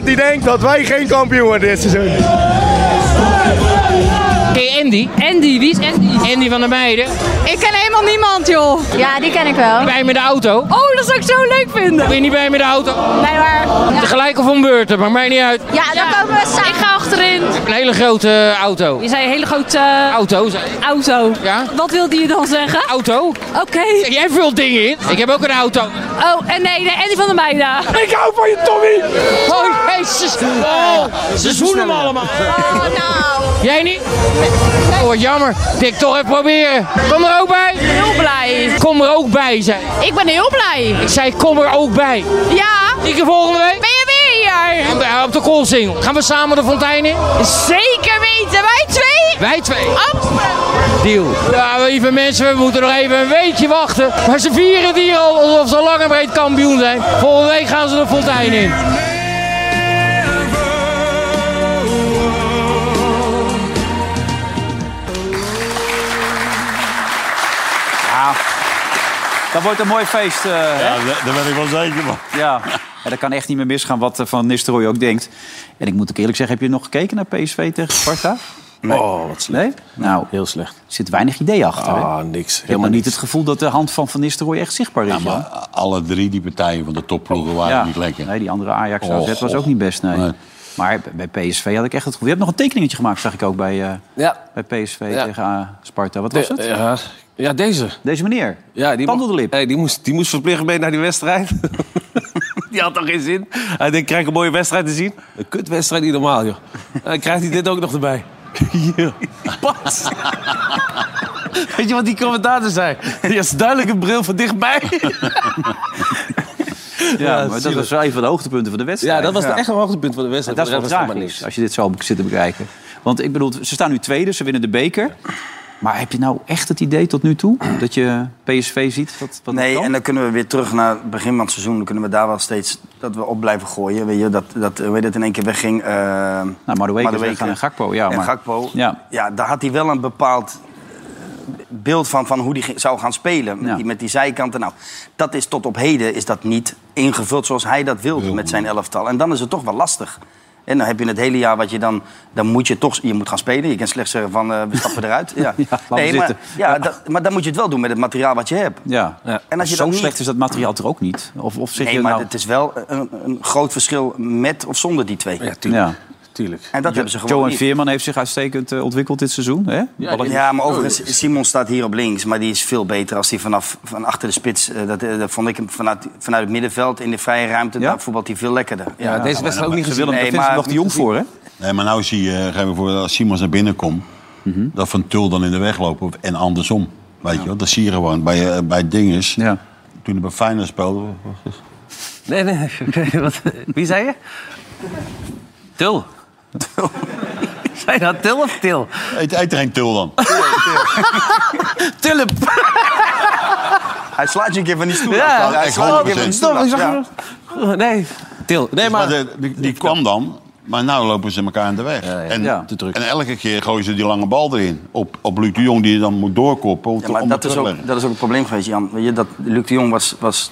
Speaker 11: 1% die denkt dat wij geen kampioen worden dit seizoen.
Speaker 8: Ken je Andy? Andy, wie is Andy? Andy van der Meijden.
Speaker 10: Ik ken helemaal niemand, joh. Ja, die ken ik wel.
Speaker 8: Bij met de auto.
Speaker 10: Oh, dat zou ik zo leuk vinden.
Speaker 8: Ben je niet bij met de auto?
Speaker 10: Nee, maar... Ja,
Speaker 8: Tegelijk of om beurten, maakt mij niet uit. Ik
Speaker 10: ja dan komen we samen. Ik ga achterin. (laughs)
Speaker 8: heb een hele grote eh, auto.
Speaker 10: zei een hele grote eh,
Speaker 8: Auto, zei-
Speaker 10: auto.
Speaker 8: Ja?
Speaker 10: Wat wilde je dan zeggen?
Speaker 8: auto.
Speaker 10: Oké.
Speaker 8: Jij vult dingen in. Ik heb ook een auto.
Speaker 10: Oh, en nee, nee, Andy van der Meijden.
Speaker 8: Ik hou van je, Tommy. Oh, jezus. Oh, ze zoenen me allemaal.
Speaker 10: Oh, nou.
Speaker 8: Jij niet?
Speaker 10: Nee,
Speaker 8: Oh, wat jammer. Dik toch even proberen. Kom er ook bij.
Speaker 12: Heel blij.
Speaker 8: Kom er ook bij, zei
Speaker 12: Ik ben heel blij.
Speaker 8: Ik zei, kom er ook bij.
Speaker 12: Ja.
Speaker 8: Zie ik je volgende week?
Speaker 12: Ben je weer hier?
Speaker 8: Op de- Op de koolsingel. Gaan we samen de fontein in?
Speaker 12: Zeker weten. Wij twee.
Speaker 8: Wij twee.
Speaker 12: Amsterdam.
Speaker 8: Deal. Ja, lieve mensen, we moeten nog even een weekje wachten. Maar ze vieren het hier al alsof ze lang en breed kampioen zijn. Volgende week gaan ze de fontein in.
Speaker 2: Ja. Dat wordt een mooi feest. eh, hè?
Speaker 3: daar ben ik wel zeker van.
Speaker 2: Ja. ja, dat kan echt niet meer misgaan wat eh, Van Nistelrooy ook denkt. En ik moet ook eerlijk zeggen, heb je nog gekeken naar PSV tegen Sparta?
Speaker 5: Oh, wat slecht.
Speaker 2: Nee? Nou,
Speaker 5: Heel slecht.
Speaker 2: er zit weinig idee achter. hè?
Speaker 5: Ah, niks.
Speaker 2: Ik heb nog
Speaker 5: Helemaal
Speaker 2: niet
Speaker 5: niet.
Speaker 2: het gevoel dat de hand van Van Nistelrooy echt zichtbaar is.
Speaker 3: Ja, Nou, maar
Speaker 2: Jan.
Speaker 3: alle drie die partijen van de topploegen waren
Speaker 2: Ja.
Speaker 3: niet lekker.
Speaker 2: Nee, die andere Ajax
Speaker 3: Oh,
Speaker 2: AZ was
Speaker 3: God.
Speaker 2: ook niet best, nee.
Speaker 3: Nee.
Speaker 2: Maar bij PSV had ik echt het gevoel... Je hebt nog een tekeningetje gemaakt, zag ik ook bij, eh,
Speaker 5: Ja.
Speaker 2: bij PSV
Speaker 5: Ja.
Speaker 2: tegen eh, Sparta. Wat was het?
Speaker 5: De- Ja, ja deze.
Speaker 2: Deze meneer.
Speaker 5: Ja, die
Speaker 2: Tanden de lip.
Speaker 5: Hey, die, moest, die moest verplicht mee naar die wedstrijd. (laughs) die had toch geen zin? Hij denkt, krijg ik een mooie wedstrijd te zien? Een kutwedstrijd niet normaal, joh. En dan krijgt hij dit ook nog erbij. (laughs) Ja, Pas. Weet je wat die commentator zei? (laughs) Die is duidelijk een bril van dichtbij.
Speaker 2: Ja, maar dat was wel een van de hoogtepunten van de wedstrijd.
Speaker 5: ja, dat was echt een hoogtepunt van de
Speaker 2: En
Speaker 5: wedstrijd.
Speaker 2: dat is
Speaker 5: Voor
Speaker 2: wel
Speaker 5: de rest was
Speaker 2: tragisch, als je dit zo zit te bekijken. Want ik bedoel, ze staan nu tweede, ze winnen de beker. Maar heb je nou echt het idee tot nu toe dat je PSV ziet? Wat, wat
Speaker 4: Nee,
Speaker 2: dat
Speaker 4: en
Speaker 2: kan?
Speaker 4: dan kunnen we weer terug naar het begin van het seizoen. Dan kunnen we daar wel steeds dat we op blijven gooien. Weet je, dat, dat eh, weet het in één keer wegging. eh
Speaker 2: Nou, Madueke is
Speaker 4: Madueke
Speaker 2: weggaan en Gakpo. Ja,
Speaker 4: en
Speaker 2: maar,
Speaker 4: Gakpo.
Speaker 2: Ja.
Speaker 4: Ja, daar had hij wel een bepaald eh, beeld van, van hoe die ging- zou gaan spelen. Met,
Speaker 2: Ja.
Speaker 4: die, met die zijkanten. Nou, dat is tot op heden is dat niet ingevuld zoals hij dat wilde met zijn elftal. En dan is het toch wel lastig. En dan heb je het hele jaar wat je dan... Dan moet je toch... Je moet gaan spelen. Je kan slechts zeggen van, eh,
Speaker 2: (laughs)
Speaker 4: we stappen eruit. Ja,
Speaker 2: laten we
Speaker 4: maar,
Speaker 2: zitten.
Speaker 4: ja, dat- maar dan moet je het wel doen met het materiaal wat je hebt.
Speaker 2: Ja.
Speaker 5: Ja.
Speaker 4: En als je
Speaker 2: zo
Speaker 4: dat niet-
Speaker 2: slecht is dat materiaal er ook niet. Of, of zeg
Speaker 4: Nee,
Speaker 2: je
Speaker 4: maar
Speaker 2: nou...
Speaker 4: het is wel een, een groot verschil met of zonder die twee.
Speaker 5: Ja, tuurlijk.
Speaker 2: Ja.
Speaker 5: tuurlijk.
Speaker 4: En dat hebben ze gewoon
Speaker 2: Joe en
Speaker 4: niet.
Speaker 2: Veerman heeft zich uitstekend eh, ontwikkeld dit seizoen. Hè? Ballen-
Speaker 4: Ja,
Speaker 5: oh,
Speaker 4: maar overigens, Simon staat hier op links. Maar die is veel beter als hij vanaf van achter de spits... eh, dat, eh, dat vond ik hem vanuit, vanuit het middenveld in de vrije ruimte...
Speaker 2: Ja?
Speaker 4: daar voetbalt hij veel lekkerder.
Speaker 5: Ja, deze wedstrijd ook niet gezien.
Speaker 2: Willem, daar
Speaker 4: Nee,
Speaker 2: vind je
Speaker 4: maar-
Speaker 2: nog te jong voor, hè?
Speaker 3: Nee, maar nou zie je, geef me voor, als Simons naar binnen komt,
Speaker 4: Mhm.
Speaker 3: dat Van Tul dan in de weg lopen en andersom. Weet je wel, dat zie je gewoon bij, eh, bij Dinges.
Speaker 2: Ja.
Speaker 3: Toen hij bij Feyenoord speelde,
Speaker 6: (laughs) Nee, nee. nee, wat- Wie zei
Speaker 5: (laughs)
Speaker 6: je? Til. Til. Zei dat Til of Til?
Speaker 3: eet, eet er geen Tul dan.
Speaker 6: Tulp.
Speaker 4: Hij slaat je een keer van die stoel.
Speaker 6: Ja,
Speaker 4: af. hij
Speaker 3: echt
Speaker 4: slaat je een keer
Speaker 3: 100%.
Speaker 4: van die stoel.
Speaker 6: Stop, ik
Speaker 4: af.
Speaker 6: zag
Speaker 4: Ja.
Speaker 6: Nee. Til. Nee,
Speaker 3: Dus
Speaker 6: maar...
Speaker 3: Maar de- die, die kwam dan, maar nu lopen ze elkaar in de weg. En,
Speaker 2: Ja, te druk.
Speaker 3: en elke keer gooien ze die lange bal erin. Op, op Luc de Jong, die je dan moet doorkoppen om,
Speaker 4: Ja,
Speaker 3: te-
Speaker 4: maar
Speaker 3: om het
Speaker 4: dat
Speaker 3: terug
Speaker 4: is, ook,
Speaker 3: te leggen.
Speaker 4: dat is ook het probleem geweest, Jan. Weet je, dat, Luc de Jong was, was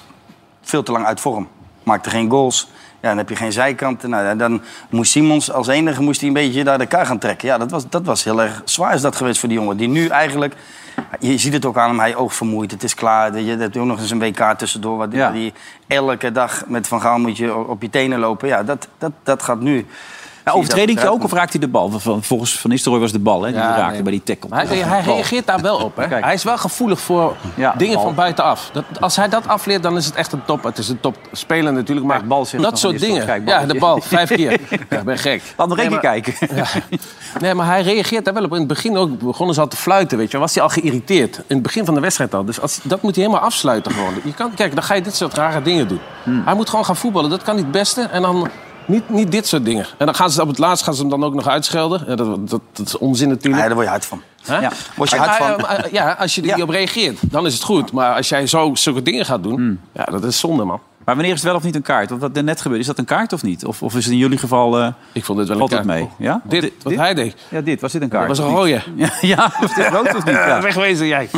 Speaker 4: veel te lang uit vorm. Maakte geen goals. Ja, dan heb je geen zijkanten. Nou, ja, dan moest Simons als enige moest hij een beetje daar de kar gaan trekken. Ja, dat was, dat was heel erg zwaar is dat geweest voor die jongen. Die nu eigenlijk... Je ziet het ook aan hem, hij oog vermoeid. Het is klaar. Weet Je dat ook nog eens een WK tussendoor. Wat
Speaker 2: Ja.
Speaker 4: die elke dag met Van Gaal moet je op je tenen lopen. Ja, dat, dat, dat gaat nu...
Speaker 2: Ja, overtreding
Speaker 4: Zie je dat
Speaker 2: ook, of raakt hij de bal? Van- Volgens Van Nistelrooy was de bal, hè? Die
Speaker 5: Ja,
Speaker 2: raakte
Speaker 5: nee.
Speaker 2: bij die tackle.
Speaker 5: Maar hij, hij reageert daar wel op. Hè?
Speaker 2: Kijk.
Speaker 5: Hij is wel gevoelig voor
Speaker 2: Ja,
Speaker 5: dingen
Speaker 2: bal.
Speaker 5: van buitenaf. Dat, als hij dat afleert, dan is het echt een top. Het is een topspeler natuurlijk, maar
Speaker 2: Kijk, bal zit
Speaker 5: dat
Speaker 2: nog
Speaker 5: soort
Speaker 2: niet,
Speaker 5: dingen.
Speaker 2: kijk,
Speaker 5: ja,
Speaker 2: balletje.
Speaker 5: de bal, vijf keer. Ja, ik ben gek.
Speaker 2: Laat nog één keer
Speaker 5: Nee, maar-
Speaker 2: kijken.
Speaker 5: Nee, maar hij reageert daar wel op. In het begin ook begonnen ze al te fluiten, weet je. wel. Was hij al geïrriteerd. In het begin van de wedstrijd al. Dus als, dat moet hij helemaal afsluiten gewoon. Je kan, kijk, dan ga je dit soort rare dingen doen. Hij moet gewoon gaan voetballen. Dat kan niet het beste. En dan niet, niet dit soort dingen. En dan gaan ze op het laatst gaan ze hem dan ook nog uitschelden. Ja, dat, dat, dat is onzin natuurlijk.
Speaker 4: Nee, daar word je hard van.
Speaker 5: Hè?
Speaker 2: Ja.
Speaker 4: Word je
Speaker 5: Ah,
Speaker 4: hard
Speaker 5: ah,
Speaker 4: van.
Speaker 5: ah, ah, Ja, als je er niet op reageert, dan is het goed. Maar als jij zo zulke dingen gaat doen, ja, dat is zonde, man.
Speaker 2: Hmm. Maar wanneer is het wel of niet een kaart? Want wat er net gebeurde, is dat een kaart of niet? Of, of is het in jullie geval... eh,
Speaker 5: Ik vond dit wel
Speaker 2: Valt
Speaker 5: een
Speaker 2: het
Speaker 5: kaart.
Speaker 2: mee? Ja?
Speaker 5: Dit,
Speaker 2: Dit-
Speaker 5: wat
Speaker 2: dit?
Speaker 5: hij deed.
Speaker 2: ja, dit, was dit een kaart?
Speaker 5: Dat was een
Speaker 2: of niet?
Speaker 5: rode.
Speaker 2: (laughs) Ja, ja, was dit rood
Speaker 5: (laughs)
Speaker 2: of niet? Ja.
Speaker 5: Wegwezen, jij.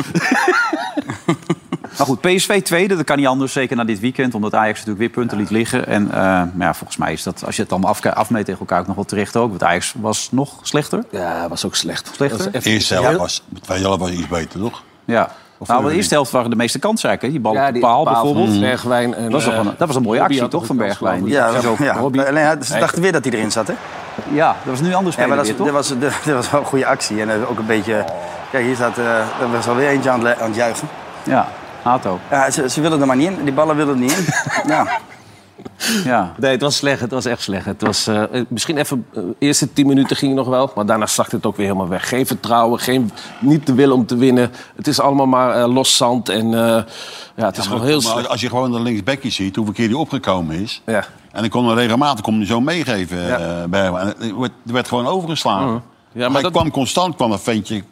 Speaker 2: Maar goed, PSV tweede, dat kan niet anders. Zeker na dit weekend, omdat Ajax natuurlijk weer punten liet liggen. En eh, maar ja, volgens mij is dat, als je het allemaal afka- afmeet tegen elkaar, ook nog wel terecht ook. Want Ajax was nog slechter.
Speaker 5: Ja, was ook slecht.
Speaker 2: Slechter?
Speaker 5: Dat was echt-
Speaker 3: Eerste helft was, tweede helft was iets beter, toch?
Speaker 2: Ja. nou, de eerste helft waren de meeste kansen eigenlijk. hè? Die bal
Speaker 5: eh, Ja,
Speaker 2: op de
Speaker 5: die
Speaker 2: paal, bijvoorbeeld.
Speaker 5: van Bergwijn en,
Speaker 2: Mm. Dat was, toch
Speaker 5: eh,
Speaker 2: een, dat was een mooie
Speaker 5: Robbie
Speaker 2: actie,
Speaker 5: had
Speaker 2: toch,
Speaker 5: ook
Speaker 2: van
Speaker 5: een
Speaker 2: Bergwijn?
Speaker 5: kans,
Speaker 2: Die-
Speaker 4: Ja,
Speaker 2: Ja,
Speaker 4: dat- ja.
Speaker 5: Robbie.
Speaker 4: Alleen, hij- ze dachten weer dat hij erin zat, hè?
Speaker 2: dat was nu anders
Speaker 4: Ja,
Speaker 2: speler
Speaker 4: maar dat,
Speaker 2: weer,
Speaker 4: is-
Speaker 2: toch? Oh.
Speaker 4: dat, was, dat, dat was wel een goede actie. En eh, ook een beetje... Kijk, hier staat... eh er was alweer eentje aan het, le- aan het juichen.
Speaker 2: Ja, Hato. (laughs)
Speaker 4: Ja, ze, ze willen er maar niet in. Die ballen willen er niet in. ja.
Speaker 2: Ja.
Speaker 5: Nee, het was slecht. Het was echt slecht. Het was, eh, eh, misschien even, eh, de eerste tien minuten ging nog wel. Maar daarna zakte het ook weer helemaal weg. Geen vertrouwen, geen, niet de wil om te winnen. Het is allemaal maar eh, los zand. En eh, ja, het is
Speaker 3: maar
Speaker 5: gewoon heel
Speaker 3: maar
Speaker 5: slecht.
Speaker 3: als je gewoon de linksbekje ziet, hoeveel keer die opgekomen is.
Speaker 5: Ja.
Speaker 3: En dan kon hij regelmatig kon hij zo meegeven eh, bij hem. En het werd, er werd gewoon overgeslagen.
Speaker 4: Mhm.
Speaker 3: Ja, maar hij kwam constant, kwam een ventje.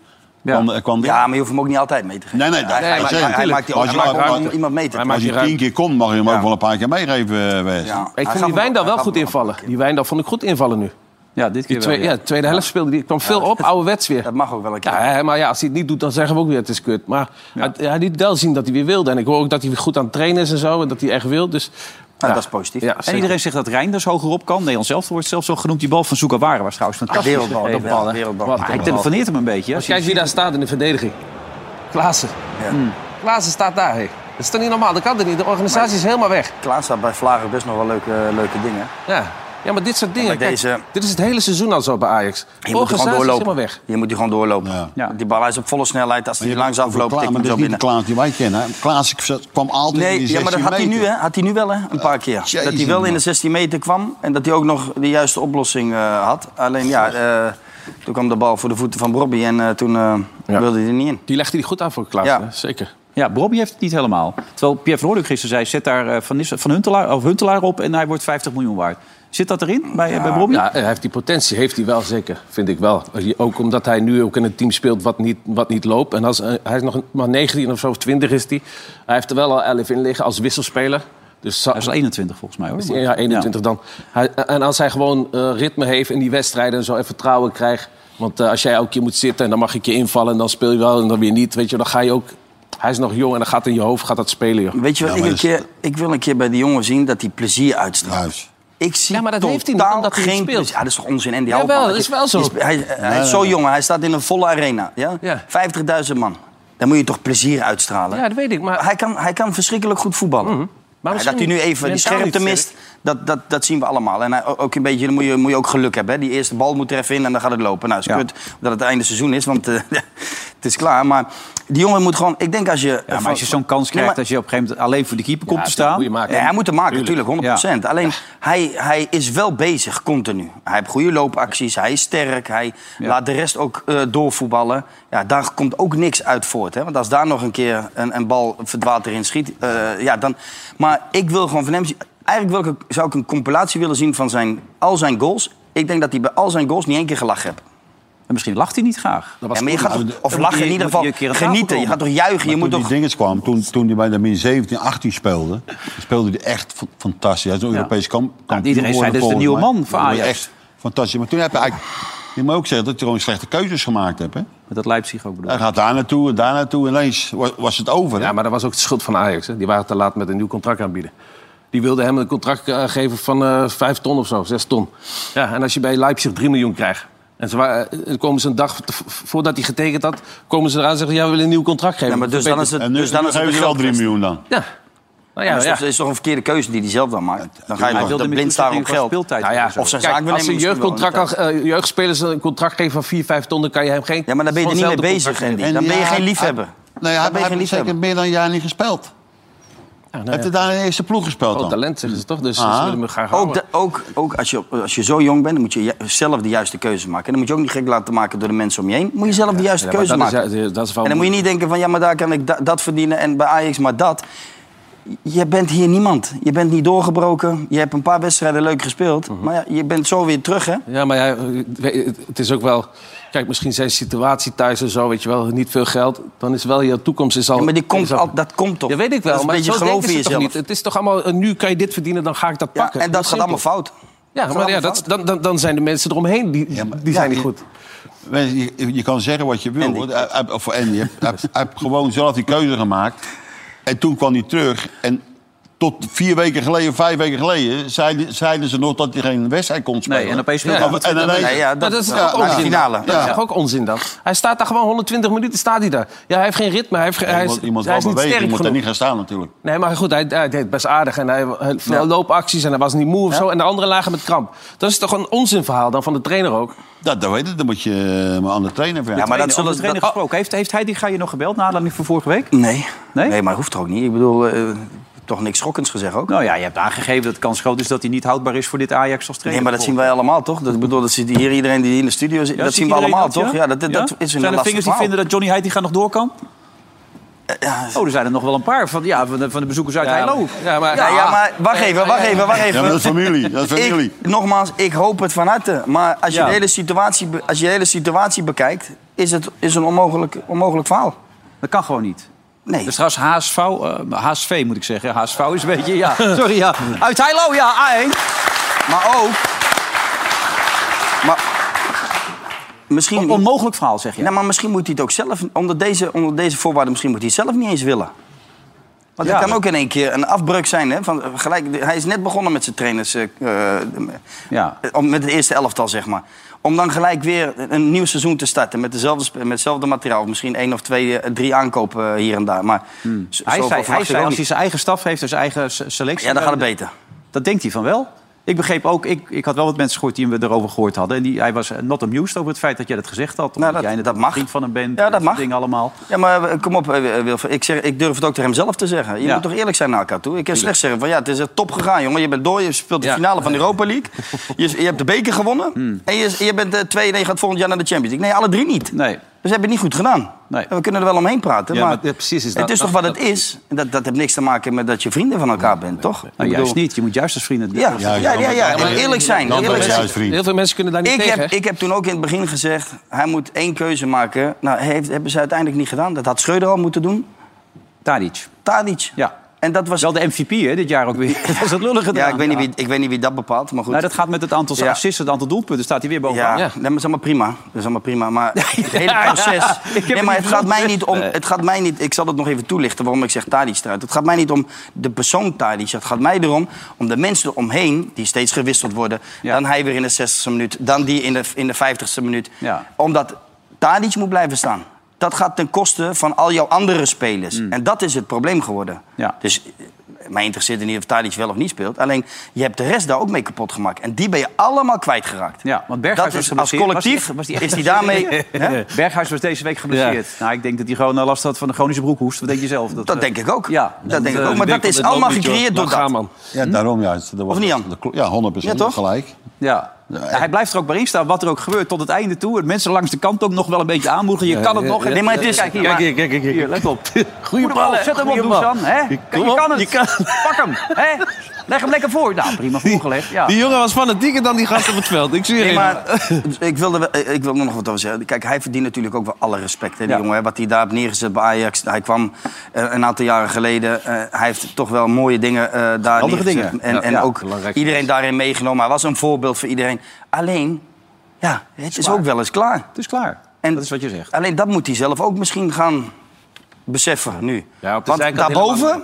Speaker 4: Ja.
Speaker 3: Kwam, kwam
Speaker 4: Ja, maar je hoeft hem ook niet altijd mee te geven.
Speaker 3: Nee, nee,
Speaker 4: Hij-
Speaker 3: dat
Speaker 4: hij- hij- hij maakt die-
Speaker 3: Als je,
Speaker 4: hij maakt
Speaker 3: als
Speaker 4: om
Speaker 3: je-
Speaker 4: iemand mee te
Speaker 3: als je
Speaker 4: trekken.
Speaker 3: tien keer kon, mag je hem ook wel een paar keer meegeven, eh, Wes.
Speaker 5: Ik vond die Wijndal wel goed invallen. Die Wijndal vond ik goed invallen nu.
Speaker 2: Ja, dit
Speaker 5: Die
Speaker 2: keer wel,
Speaker 5: twee, ja. de tweede helft speelde die kwam veel op, ouderwets weer. Dat
Speaker 4: mag ook wel een keer.
Speaker 5: Ja, hè, maar ja, als hij het niet doet, dan zeggen we ook weer het is kut. Maar hij, hij liet wel zien dat hij weer wilde. En ik hoor ook dat hij weer goed aan het trainen is en zo. En dat hij echt wil. Dus,
Speaker 4: dat is positief.
Speaker 5: Ja,
Speaker 2: En
Speaker 5: zeker.
Speaker 2: iedereen zegt dat Reinders hogerop kan. Nederland zelf wordt zelfs al genoemd. Die bal van Zoekawaren was trouwens fantastisch.
Speaker 4: Ah, wereldbal,
Speaker 2: gegeven.
Speaker 4: wereldbal, wereldbal.
Speaker 2: Maar Hij telefoneert hem een beetje. hè.
Speaker 5: Als je kijkt wie daar staat in de verdediging. Klaassen. Hmm.
Speaker 4: Mm.
Speaker 5: Klaassen staat daar. hé. Dat is toch niet normaal? Dat kan er niet. De organisatie is helemaal weg.
Speaker 4: Klaas had bij Vlagen best nog wel leuke, eh, leuke dingen.
Speaker 5: Ja. ja, maar dit soort dingen.
Speaker 4: maar
Speaker 5: kijk,
Speaker 4: deze-
Speaker 5: dit is het hele seizoen al zo bij Ajax.
Speaker 4: Je moet die
Speaker 5: organisatie
Speaker 4: gewoon
Speaker 5: is
Speaker 4: doorlopen.
Speaker 5: helemaal weg.
Speaker 4: Je moet die gewoon doorlopen. Die bal hij is op volle snelheid. Als hij langs afloopt,
Speaker 3: Klaas,
Speaker 4: tikt
Speaker 3: maar
Speaker 4: hem
Speaker 3: dat
Speaker 4: zo
Speaker 3: is
Speaker 4: binnen.
Speaker 3: niet de Klaas die wij kennen. hè. Klaas kwam altijd in
Speaker 4: Nee,
Speaker 3: die
Speaker 4: ja, maar dat had hij
Speaker 3: 16
Speaker 4: nu, hè?
Speaker 3: meter.
Speaker 4: Had hij nu wel, hè? Een paar keer. dat hij wel in de 16 meter kwam en dat hij ook nog de juiste oplossing eh, had. Alleen ja, eh, toen kwam de bal voor de voeten van Bobby en eh, toen eh, wilde hij er niet in.
Speaker 5: Die legde hij goed aan voor Klaas,
Speaker 4: Ja.
Speaker 5: hè? zeker.
Speaker 2: Ja, Bobby heeft het niet helemaal. Terwijl Pierre Verhoorlijk gisteren zei... zet daar eh, Van, Nis- van Huntelaar, of Huntelaar op en hij wordt 50 miljoen waard. Zit dat erin bij, bij Bobby?
Speaker 5: Ja, hij heeft die potentie, heeft hij wel zeker, vind ik wel. Ook omdat hij nu ook in een team speelt wat niet, wat niet loopt. En als, eh, hij is nog een- maar 19 of zo, of 20 is hij. Hij heeft er wel al 11 in liggen als wisselspeler. Dus hij
Speaker 2: is al 21 volgens mij.
Speaker 5: Hoor. Ja, 21 dan. Hij, en als hij gewoon eh, ritme heeft in die wedstrijden en zo en vertrouwen krijgt. Want eh, als jij elke keer moet zitten en dan mag je een keer invallen en dan speel je wel en dan weer niet. Weet je, dan ga je ook... Hij is nog jong en dan gaat in je hoofd gaat dat spelen. Joh.
Speaker 4: Weet je wat, ik, een keer, ik wil een keer bij die jongen zien dat hij plezier uitstraalt. Ik zie
Speaker 5: Ja, maar dat heeft hij niet,
Speaker 4: totaal
Speaker 5: omdat hij niet
Speaker 4: geen
Speaker 5: speelt.
Speaker 4: plezier. Ja, dat is toch onzin. En die
Speaker 5: Jawel,
Speaker 4: Houtman,
Speaker 5: dat is
Speaker 4: je-
Speaker 5: wel zo.
Speaker 4: je spe- Hij, hij
Speaker 5: Nee,
Speaker 4: is
Speaker 5: nee,
Speaker 4: zo
Speaker 5: nee.
Speaker 4: jong, hij staat in een volle arena. Ja?
Speaker 5: Ja.
Speaker 4: 50.000 man. Dan moet je toch plezier uitstralen?
Speaker 5: Ja, dat weet ik. Maar Mhm.
Speaker 4: Hij kan, hij kan verschrikkelijk goed voetballen.
Speaker 5: Maar
Speaker 4: Ja, dat
Speaker 5: misschien
Speaker 4: hij nu even die
Speaker 5: mentaal
Speaker 4: scherpte
Speaker 5: niet
Speaker 4: mist, dat, dat, dat zien we allemaal. En hij- ook een beetje, dan moet je, moet je ook geluk hebben. Hè. Die eerste bal moet er even in en dan gaat het lopen. Nou, is kut dat het einde seizoen is, want eh, (laughs) het is klaar. Maar die jongen moet gewoon... Ik denk als je... eh,
Speaker 2: Ja, maar als je zo'n kans
Speaker 4: Nee,
Speaker 2: krijgt
Speaker 4: maar-
Speaker 2: dat je op een gegeven moment alleen voor de keeper komt te staan.
Speaker 4: ja, hij moet hem maken, natuurlijk, 100 Alleen hij, hij is wel bezig, continu. Hij heeft goede loopacties, hij is sterk, hij laat de rest ook eh, doorvoetballen. Ja, daar komt ook niks uit voort. Hè? Want als daar nog een keer een, een bal verdwaald erin schiet, eh, ja, dan. Maar ik wil gewoon van hem zien. Eigenlijk wil ik, zou ik een compilatie willen zien van zijn, al zijn goals. Ik denk dat hij bij al zijn goals niet één keer gelachen heeft.
Speaker 2: En misschien lacht hij niet graag.
Speaker 4: Ja, maar je gaat toch-
Speaker 3: eh,
Speaker 4: of lachen in ieder geval. Genieten. Je gaat toch juichen. Je
Speaker 3: Maar
Speaker 4: moet
Speaker 3: toen
Speaker 4: toch.
Speaker 3: die dinges kwam, toen, toen hij bij de min 17, 18 speelde, speelde hij echt fa- fantastisch. Hij is een Europees kamp- kampioen
Speaker 2: iedereen zei, dat is
Speaker 3: geworden,
Speaker 2: de
Speaker 3: volgens
Speaker 2: nieuwe
Speaker 3: mij.
Speaker 2: man van
Speaker 3: Dat was
Speaker 2: Ajax.
Speaker 3: Echt fantastisch. Maar toen heb je eigenlijk, je moet ook zeggen dat je gewoon slechte keuzes gemaakt hebt. Hè?
Speaker 2: Met dat Leipzig ook bedoel
Speaker 3: Hij
Speaker 2: ik.
Speaker 3: gaat daar naartoe, daar naartoe. Ineens wa- was het over.
Speaker 5: Ja, maar dat was ook de schuld van Ajax. Hè? Die waren te laat met een nieuw contract aanbieden. Die wilden hem een contract eh, geven van eh 5 ton of zo, 6 ton. Ja, en als je bij Leipzig 3 miljoen krijgt. En ze waren, eh, dan komen ze een dag te- voordat hij getekend had, komen ze eraan en zeggen: Ja, we willen een nieuw contract geven.
Speaker 4: Ja, maar dus dan is het-
Speaker 3: En nu,
Speaker 4: dus dan
Speaker 3: nu
Speaker 4: is het
Speaker 3: geven
Speaker 4: een
Speaker 3: ze wel 3
Speaker 4: geldkwestie.
Speaker 3: miljoen dan.
Speaker 5: Ja. Nou ja,
Speaker 4: dat is
Speaker 5: ja.
Speaker 4: toch- dat is toch een verkeerde keuze die hij zelf dan maakt. Dan ga je
Speaker 2: Hij
Speaker 4: toch-
Speaker 2: wilde
Speaker 4: dan
Speaker 2: met
Speaker 4: blind staren op
Speaker 2: toezegging
Speaker 4: geld.
Speaker 2: van speeltijd
Speaker 5: Nou ja,
Speaker 2: en zo.
Speaker 4: Of zijn
Speaker 5: Kijk,
Speaker 4: zaakbenemer
Speaker 5: als een
Speaker 4: misschien wel
Speaker 5: jeugdcontract,
Speaker 4: in de
Speaker 5: eh, jeugdspelers een contract geven van 4, 5 ton, dan kan je hem geen.
Speaker 4: Ja, maar dan ben je er niet mee
Speaker 5: hetzelfde
Speaker 4: bezig,
Speaker 5: contract
Speaker 4: Andy.
Speaker 5: geven.
Speaker 4: Dan ben je
Speaker 3: Ja,
Speaker 4: geen liefhebber.
Speaker 3: Nee, hij,
Speaker 4: Dan ben je
Speaker 3: hij
Speaker 4: geen
Speaker 3: heeft zeker
Speaker 4: liefhebber.
Speaker 3: meer dan een jaar niet gespeeld.
Speaker 5: Ja, nou
Speaker 3: Hij heeft
Speaker 5: ja.
Speaker 3: hij daar in de eerste ploeg gespeeld
Speaker 5: Groot
Speaker 3: dan?
Speaker 5: talent zeggen ze toch? Dus
Speaker 3: Ah.
Speaker 5: ze willen hem graag
Speaker 4: Ook,
Speaker 5: houden.
Speaker 4: de- ook, ook als, je, op- als je zo jong bent, dan moet je ju- zelf de juiste keuze maken. En dan moet je ook niet gek laten maken door de mensen om je heen. Moet je zelf de juiste
Speaker 5: Ja, maar
Speaker 4: keuze
Speaker 5: dat is-
Speaker 4: maken.
Speaker 5: ja, dat is wel
Speaker 4: en dan moet je niet denken van, ja, maar daar kan ik da- dat verdienen en bij Ajax maar dat. Je bent hier niemand. Je bent niet doorgebroken. Je hebt een paar wedstrijden leuk gespeeld.
Speaker 5: Mhm.
Speaker 4: Maar ja, je bent zo weer terug, hè?
Speaker 5: Ja, maar ja, het- het is ook wel... Kijk, misschien zijn situatie thuis en zo, weet je wel, niet veel geld. Dan is wel je toekomst is al...
Speaker 4: Ja, maar die komt
Speaker 5: is al-
Speaker 4: al, dat komt toch?
Speaker 5: Ja, weet ik wel,
Speaker 4: Dat is een
Speaker 5: maar
Speaker 4: beetje
Speaker 5: zo
Speaker 4: geloof
Speaker 5: denken
Speaker 4: in
Speaker 5: ze toch
Speaker 4: jezelf.
Speaker 5: niet. Het is toch allemaal, eh, nu kan je dit verdienen, dan ga ik dat
Speaker 4: Ja,
Speaker 5: pakken.
Speaker 4: en dat gaat allemaal
Speaker 5: simpel.
Speaker 4: fout.
Speaker 5: Ja, maar ja, dat, dan, dan, dan zijn de mensen eromheen, die, die zijn niet goed.
Speaker 3: Weet je, je- je kan zeggen wat je wil. hoor. Hij- hij- Of Andy. Hij hij- hij heeft gewoon zelf die keuze gemaakt. En toen kwam hij terug. En tot vier weken geleden, vijf weken geleden... zeiden, zeiden ze nog dat hij geen wedstrijd kon spelen.
Speaker 2: en opeens speelde
Speaker 3: Ja,
Speaker 2: hij.
Speaker 3: en ineens-
Speaker 4: Nee, ja,
Speaker 5: Maar
Speaker 4: dat,
Speaker 5: Nou, dat is
Speaker 3: ja,
Speaker 5: toch ook
Speaker 3: ja.
Speaker 5: onzin?
Speaker 4: finale.
Speaker 5: Dat is
Speaker 3: Ja.
Speaker 5: toch ook onzin dan? Hij staat daar gewoon 120 minuten, staat hij daar. Ja, hij heeft geen ritme, hij, heeft, ge- hij is,
Speaker 3: Iemand, iemand
Speaker 5: hij
Speaker 3: wel
Speaker 5: is niet
Speaker 3: bewegen, je
Speaker 5: sterk
Speaker 3: moet er
Speaker 5: genoeg.
Speaker 3: niet gaan staan natuurlijk.
Speaker 5: Nee, maar goed, hij, hij deed best aardig. En hij had veel loopacties en hij was niet moe of zo. En de anderen lagen met kramp. Dat is toch een onzinverhaal dan van de trainer ook?
Speaker 3: Dat, dat weet ik, dan moet je eh, maar aan de trainer vragen.
Speaker 4: Ja, maar dat
Speaker 2: Trainer, over
Speaker 4: zullen
Speaker 2: de trainer
Speaker 4: dat-
Speaker 2: gesproken. Heeft, heeft hij die ga je nog gebeld, naar aanleiding van vorige week?
Speaker 4: Nee.
Speaker 2: Nee?
Speaker 4: Nee, maar hoeft er ook niet. Ik bedoel, eh, toch niks schokkends gezegd ook.
Speaker 2: Nou ja, je hebt aangegeven dat de kans groot is dat hij niet houdbaar is voor dit Ajax als trainer.
Speaker 4: Nee, maar dat zien wij allemaal, toch? Dat, ik bedoel, dat ziet hier iedereen die in de studio zit,
Speaker 2: Ja,
Speaker 4: dat
Speaker 2: ziet
Speaker 4: zien we
Speaker 2: iedereen
Speaker 4: allemaal,
Speaker 2: dat,
Speaker 4: toch? Ja, dat, dat, dat is een
Speaker 2: zijn er
Speaker 4: lastig
Speaker 2: vingers die
Speaker 4: verhaal.
Speaker 2: vinden dat Johnny Heitinga nog door kan? Oh, er zijn er nog wel een paar van, ja, van, de, van de bezoekers uit
Speaker 4: Ja,
Speaker 2: Heilo.
Speaker 4: maar- Ja, ja, maar wacht even, wacht even, wacht even.
Speaker 3: Ja, maar dat is familie, dat is
Speaker 4: Ik-
Speaker 3: familie.
Speaker 4: nogmaals, ik hoop het van harte. Maar als je,
Speaker 3: Ja.
Speaker 4: de, hele situatie, be- als je de hele situatie bekijkt, is het is een onmogelijk, onmogelijk verhaal.
Speaker 2: Dat kan gewoon niet.
Speaker 4: (laughs) Nee.
Speaker 2: Dus trouwens HSV, eh, HSV moet ik zeggen. HSV is een beetje,
Speaker 4: (laughs)
Speaker 2: ja, sorry, ja. Uit Heilo, ja, A1.
Speaker 4: Maar ook... Maar, misschien
Speaker 2: onmogelijk verhaal, zeg je.
Speaker 4: Nee, maar misschien moet hij het ook zelf... Onder deze, onder deze voorwaarden misschien moet hij het zelf niet eens willen. Want het
Speaker 2: Ja.
Speaker 4: kan ook in één keer een afbreuk zijn. Hè? Van, eh, gelijk, hij is net begonnen met zijn trainers... eh, eh,
Speaker 2: Ja.
Speaker 4: eh, om- met het eerste elftal, zeg maar. Om dan gelijk weer een nieuw seizoen te starten... met, dezelfde, sp- met hetzelfde materiaal. Misschien één of twee, eh, drie aankopen eh, hier en daar. Maar z-
Speaker 2: Hmm. Hij
Speaker 4: zoveel
Speaker 2: zei, hij
Speaker 4: verwacht ik
Speaker 2: zei,
Speaker 4: ook
Speaker 2: als hij
Speaker 4: niet.
Speaker 2: zijn eigen staf heeft en zijn eigen se- selectie...
Speaker 4: Ja, dan gaat het beter.
Speaker 2: Dat denkt hij van wel. Ik begreep ook, ik, ik had wel wat mensen gehoord die hem erover gehoord hadden. En die, hij was eh, not amused over het feit dat jij dat gezegd had. Omdat
Speaker 4: Nou, dat-
Speaker 2: jij
Speaker 4: dat mag.
Speaker 2: vriend van hem bent.
Speaker 4: Ja, dat
Speaker 2: soort
Speaker 4: mag.
Speaker 2: Dingen allemaal.
Speaker 4: Ja, maar eh, kom op, eh, eh, Wilfred. Ik, zeg, ik durf het ook tegen hem zelf te zeggen. Je
Speaker 2: Ja.
Speaker 4: moet toch eerlijk zijn naar elkaar toe. Ik kan slecht zeggen van ja, het is echt top gegaan, jongen. Je bent door, je speelt de
Speaker 2: Ja. Hmm.
Speaker 4: finale van de Europa
Speaker 2: (laughs)
Speaker 4: League. Je, je hebt de beker gewonnen. En je, je bent de tweede en je gaat volgend jaar naar de Champions League. Nee, alle drie niet.
Speaker 2: Nee.
Speaker 4: Dus heb je het niet goed gedaan.
Speaker 2: Nee.
Speaker 4: En We kunnen er wel omheen praten.
Speaker 2: Ja,
Speaker 4: maar
Speaker 2: maar, ja, precies is dat-
Speaker 4: het is toch
Speaker 2: dat-
Speaker 4: wat het is. En dat, dat heeft niks te maken met dat je vrienden van elkaar bent, toch? Ik
Speaker 2: Nou, juist
Speaker 4: bedoel-
Speaker 2: niet. Je moet juist als vrienden...
Speaker 4: Ja, ja, ja, ja, En eerlijk zijn.
Speaker 2: Dan
Speaker 4: Eerlijk
Speaker 2: ben je
Speaker 4: zijn.
Speaker 2: juist vriend. Heel
Speaker 5: veel mensen kunnen daar niet
Speaker 4: ik
Speaker 5: tegen,
Speaker 4: Heb,
Speaker 5: hè?
Speaker 4: ik heb toen ook in het begin gezegd, hij moet één keuze maken. Nou, heeft, hebben ze uiteindelijk niet gedaan. Dat had Schreuder al moeten doen.
Speaker 2: Tadic.
Speaker 4: Tadic.
Speaker 2: Ja.
Speaker 4: En dat was...
Speaker 2: Wel de MVP hè, dit jaar ook weer. (laughs) dat is het lullige
Speaker 4: Ja,
Speaker 2: eraan,
Speaker 4: ik weet, niet wie, ik weet niet wie dat bepaalt, maar goed.
Speaker 2: Nou, dat gaat met het aantal
Speaker 4: Ja.
Speaker 2: assists, het aantal doelpunten. Staat hij weer
Speaker 4: ja,
Speaker 2: bovenaan.
Speaker 4: Nee, maar dat is allemaal prima. Dat is allemaal
Speaker 2: (laughs)
Speaker 4: prima. Maar het hele proces.
Speaker 2: Ja, (laughs) ik heb
Speaker 4: nee,
Speaker 2: het
Speaker 4: maar
Speaker 2: niet
Speaker 4: het gaat
Speaker 2: bedoeld,
Speaker 4: mij niet om.
Speaker 2: nee.
Speaker 4: Het gaat mij niet. Ik zal het nog even toelichten waarom ik zeg Tadic eruit. Het gaat mij niet om de persoon Tadic. Het gaat mij erom om de mensen eromheen die steeds gewisseld worden. Dan hij weer in de 60ste minuut. Dan die in de, in de 50ste minuut.
Speaker 2: Ja.
Speaker 4: Omdat Tadic moet blijven staan. Dat gaat ten koste van al jouw andere spelers. En dat is het probleer geworden.
Speaker 2: Mm. Ja.
Speaker 4: Dus eh, mij interesseert er niet of Tadic wel of niet speelt. Alleen je hebt de rest daar ook mee kapot gemaakt. En die ben je allemaal kwijtgeraakt.
Speaker 2: Ja, want Berghuis
Speaker 4: Dat
Speaker 2: was
Speaker 4: is als
Speaker 2: geblesseerd.
Speaker 4: collectief
Speaker 2: Was
Speaker 4: is die
Speaker 2: geblesseerd?
Speaker 4: daarmee-
Speaker 2: Hè?
Speaker 4: (laughs)
Speaker 2: Berghuis was deze week geblesseerd. Nou, ik denk dat hij gewoon eh, last had van de chronische broekhoest. Wat denk je zelf?
Speaker 4: Dat
Speaker 2: eh,
Speaker 4: denk ik ook.
Speaker 2: Ja,
Speaker 4: Dat denk ik
Speaker 5: eh,
Speaker 4: ook. Maar dat is allemaal gecreëerd door dat.
Speaker 3: Ja, daarom juist. Dat was-
Speaker 4: niet, Jan?
Speaker 3: dat klopt. Ja, 100%
Speaker 4: Ja, toch?
Speaker 3: gelijk.
Speaker 2: Ja. Ja, hij blijft er ook maar in staan, wat er ook gebeurt, tot het einde toe. Het Mensen langs de kant ook nog wel een beetje aanmoedigen. Je kan het nog.
Speaker 4: Nee, maar het is-
Speaker 2: Kijk hier,
Speaker 4: kijk
Speaker 2: maar-
Speaker 4: hier,
Speaker 5: kijk, kijk,
Speaker 2: hier, let op.
Speaker 5: Goeie
Speaker 2: (laughs) Goeie bal,
Speaker 5: bal, hè?
Speaker 2: zet hem op,
Speaker 5: Goeie bal.
Speaker 2: Dusan. hè? Kijk,
Speaker 5: Kom
Speaker 2: je
Speaker 5: op,
Speaker 2: kan het.
Speaker 5: je kan
Speaker 2: (laughs) Pak hem. hè? Leg hem lekker voor. Nou, prima voorgelegd. Ja.
Speaker 5: Die jongen was fanatieker dan die gast op het veld. Ik zie
Speaker 4: (laughs) Nee,
Speaker 5: je.
Speaker 4: maar
Speaker 2: (laughs)
Speaker 4: eh, ik wilde wel- ik wil er nog wat over zeggen. Kijk, hij verdient natuurlijk ook wel alle respect, hè, die
Speaker 2: Ja.
Speaker 4: jongen. hè. Wat hij daar heeft neergezet bij Ajax. Hij kwam eh, een aantal jaren geleden. eh, hij heeft toch wel mooie dingen eh, daar
Speaker 2: Andere
Speaker 4: neergezet.
Speaker 2: dingen.
Speaker 4: En,
Speaker 2: Ja,
Speaker 4: en
Speaker 2: ja,
Speaker 4: ook
Speaker 2: belangrijk.
Speaker 4: iedereen daarin meegenomen. Hij was een voorbeeld voor iedereen. Alleen, ja, het is ook wel eens klaar.
Speaker 2: Het is klaar.
Speaker 4: En-
Speaker 2: dat is wat je zegt.
Speaker 4: Alleen dat moet hij zelf ook misschien gaan beseffen nu.
Speaker 5: Ja, op de
Speaker 4: Want
Speaker 5: zijkant
Speaker 4: daarboven,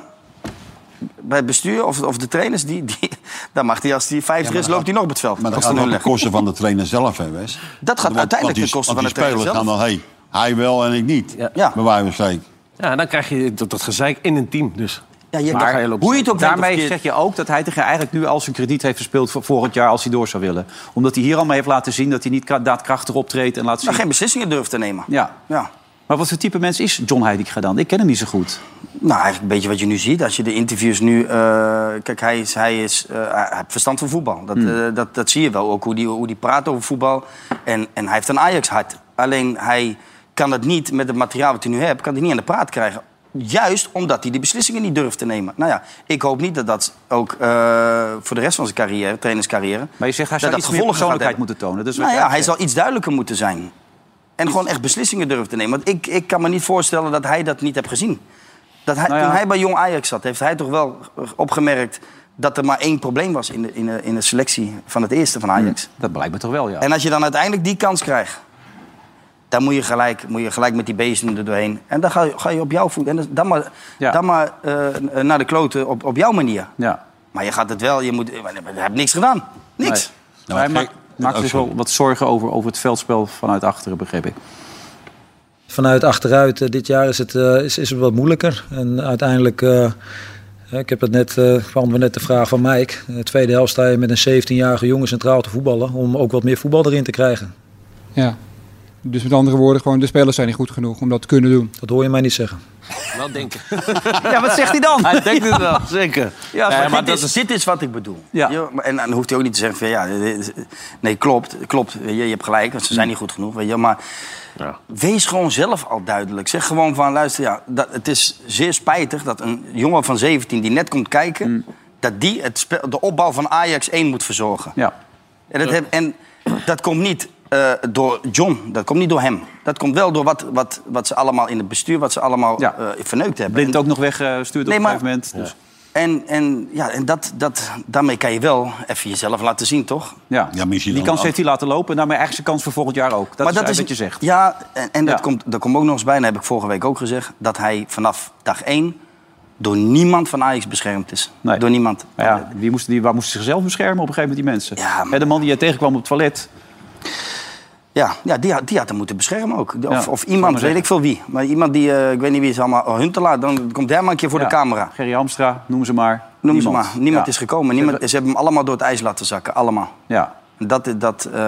Speaker 4: bij het bestuur of, of de trainers, die, die, (laughs) daar mag hij als hij 50 is, loopt hij nog op het veld.
Speaker 3: Maar dat
Speaker 4: Als hij
Speaker 3: gaat
Speaker 4: nul
Speaker 3: ook de
Speaker 4: legt.
Speaker 3: kosten van de trainer zelf, hè, Wes?
Speaker 4: Dat gaat uiteindelijk
Speaker 3: de
Speaker 4: ten koste van de
Speaker 3: spelers
Speaker 4: trainer zelf.
Speaker 3: gaan dan, hé, hij wel en ik niet. Ja.
Speaker 4: Ja.
Speaker 3: Bij wijze van spreken.
Speaker 5: Ja, dan krijg je dat, dat gezeik in een team dus.
Speaker 4: Ja, je,
Speaker 5: Maar-
Speaker 4: daar- hoe je het ook weet of
Speaker 2: Daarmee
Speaker 4: verkeerd-
Speaker 2: zeg je ook dat hij tegen eigenlijk nu al zijn krediet heeft verspeeld voor volgend jaar als hij door zou willen. Omdat hij hier allemaal heeft laten zien dat hij niet kra- daadkrachtig optreedt en laat zien.
Speaker 4: nou, geen beslissingen durft te nemen.
Speaker 2: Ja.
Speaker 4: Ja.
Speaker 2: Maar wat voor type mens is John Heidig dan? Ik ken hem niet zo goed.
Speaker 4: Nou, eigenlijk een beetje wat je nu ziet. Als je de interviews nu... eh, kijk, hij, is, hij, is, eh, hij heeft verstand van voetbal.
Speaker 2: Hmm.
Speaker 4: Dat, eh, dat, dat zie je wel ook, hoe die, hoe die praat over voetbal. En, en hij heeft een Ajax-hart. Alleen hij kan het niet, met het materiaal wat hij nu hebt... kan hij niet aan de praat krijgen. Juist omdat hij die beslissingen niet durft te nemen. Nou ja, ik hoop niet dat dat ook eh, voor de rest van zijn carrière, trainerscarrière...
Speaker 2: Maar je zegt hij zou
Speaker 4: dat
Speaker 2: iets meer
Speaker 4: gevolgen gaat
Speaker 2: persoonlijkheid
Speaker 4: hebben.
Speaker 2: moeten tonen. Dus Dat is wat
Speaker 4: Nou
Speaker 2: jij
Speaker 4: ja, hij
Speaker 2: zegt.
Speaker 4: zal iets duidelijker moeten zijn. En gewoon echt beslissingen durven te nemen. Want ik, ik kan me niet voorstellen dat hij dat niet heeft gezien. Dat hij,
Speaker 2: Nou ja.
Speaker 4: Toen hij bij Jong Ajax zat, heeft hij toch wel opgemerkt... dat er maar één probleem was in de, in de, in de selectie van het eerste van Ajax.
Speaker 2: Hmm, Dat blijkt me toch wel, ja.
Speaker 4: En als je dan uiteindelijk die kans krijgt... dan moet je gelijk, moet je gelijk met die beesten er doorheen. En dan ga je, ga je op jouw voet. En dan- dan maar,
Speaker 2: Ja.
Speaker 4: dan maar eh, naar de kloten op, op jouw manier.
Speaker 2: ja.
Speaker 4: Maar je gaat het wel, je, moet, je hebt niks gedaan. Niks.
Speaker 2: Maar hij
Speaker 3: maar
Speaker 2: maakt, maakt
Speaker 4: Oh,
Speaker 3: ook
Speaker 2: dus
Speaker 3: zo.
Speaker 2: wel wat zorgen over, over het veldspel vanuit achteren, begreep ik.
Speaker 13: vanuit achteruit. eh, dit jaar is het, eh, is, is het wat moeilijker. En uiteindelijk, eh, ik heb dat net, eh, kwam we net de vraag van Mike. In de tweede helft sta je met een 17-jarige jongen centraal te voetballen. Om ook wat meer voetbal erin te krijgen.
Speaker 14: Ja. Dus met andere woorden, gewoon de spelers zijn niet goed genoeg om dat te kunnen doen.
Speaker 13: Dat hoor je mij niet zeggen.
Speaker 5: Wel denken.
Speaker 4: (laughs) Ja, wat zegt hij dan?
Speaker 5: Hij denkt het wel, zeker.
Speaker 4: Ja,
Speaker 5: Nee,
Speaker 4: maar
Speaker 5: maar
Speaker 4: dit,
Speaker 5: dat
Speaker 4: is,
Speaker 5: is-
Speaker 4: dit is wat ik bedoel. Ja. En dan hoeft hij ook niet te zeggen van ja, dit is- nee, klopt, klopt. weet Je, je hebt gelijk, want ze
Speaker 5: Hm.
Speaker 4: zijn niet goed genoeg. Weet je, maar wees gewoon zelf al duidelijk. Zeg gewoon van luister, ja, dat, het is zeer spijtig dat een jongen van 17 die net komt kijken, dat die het spe- de opbouw van Ajax 1 moet verzorgen.
Speaker 2: Ja.
Speaker 4: En dat, heb- en dat komt niet eh, door John, dat komt niet door hem. Dat komt wel door wat, wat, wat ze allemaal in het bestuur, wat ze allemaal eh, verneukt hebben.
Speaker 2: Blind ook nog weggestuurd
Speaker 4: Nee,
Speaker 2: op
Speaker 4: maar-
Speaker 2: een gegeven moment. Dus.
Speaker 4: En, en, ja, en dat, dat, daarmee kan je wel even jezelf laten zien, toch?
Speaker 2: Ja.
Speaker 4: misschien
Speaker 2: die
Speaker 4: dan
Speaker 2: kans
Speaker 4: af-
Speaker 2: heeft hij laten lopen. En daarmee eigenlijk zijn kans voor volgend jaar ook. Dat is eigenlijk wat je zegt.
Speaker 4: Ja, en, en Dat, komt, dat komt ook nog eens bij, en dat heb ik vorige week ook gezegd... dat hij vanaf dag één door niemand van Ajax beschermd is. Door niemand.
Speaker 2: Maar ja, die moesten, die, waar moesten ze zichzelf beschermen op een gegeven moment, die mensen? Hè, De man die jij tegenkwam op het toilet.
Speaker 4: Ja, ja die, had- die had hem moeten beschermen ook.
Speaker 2: Ja,
Speaker 4: Of,
Speaker 2: zou
Speaker 4: of
Speaker 2: maar
Speaker 4: iemand, weet
Speaker 2: zeggen.
Speaker 4: ik veel wie. Maar iemand die, eh, ik weet niet wie is allemaal... Oh, Huntelaar, dan komt hij maar een keer voor
Speaker 2: Ja,
Speaker 4: de camera.
Speaker 2: Gerry Hamstra, noem ze maar.
Speaker 4: Noem
Speaker 2: Niemand.
Speaker 4: ze maar. Niemand
Speaker 2: Ja.
Speaker 4: is gekomen. Niemand, ze hebben hem allemaal door het ijs laten zakken. Allemaal.
Speaker 2: Ja.
Speaker 4: En Dat, dat, eh,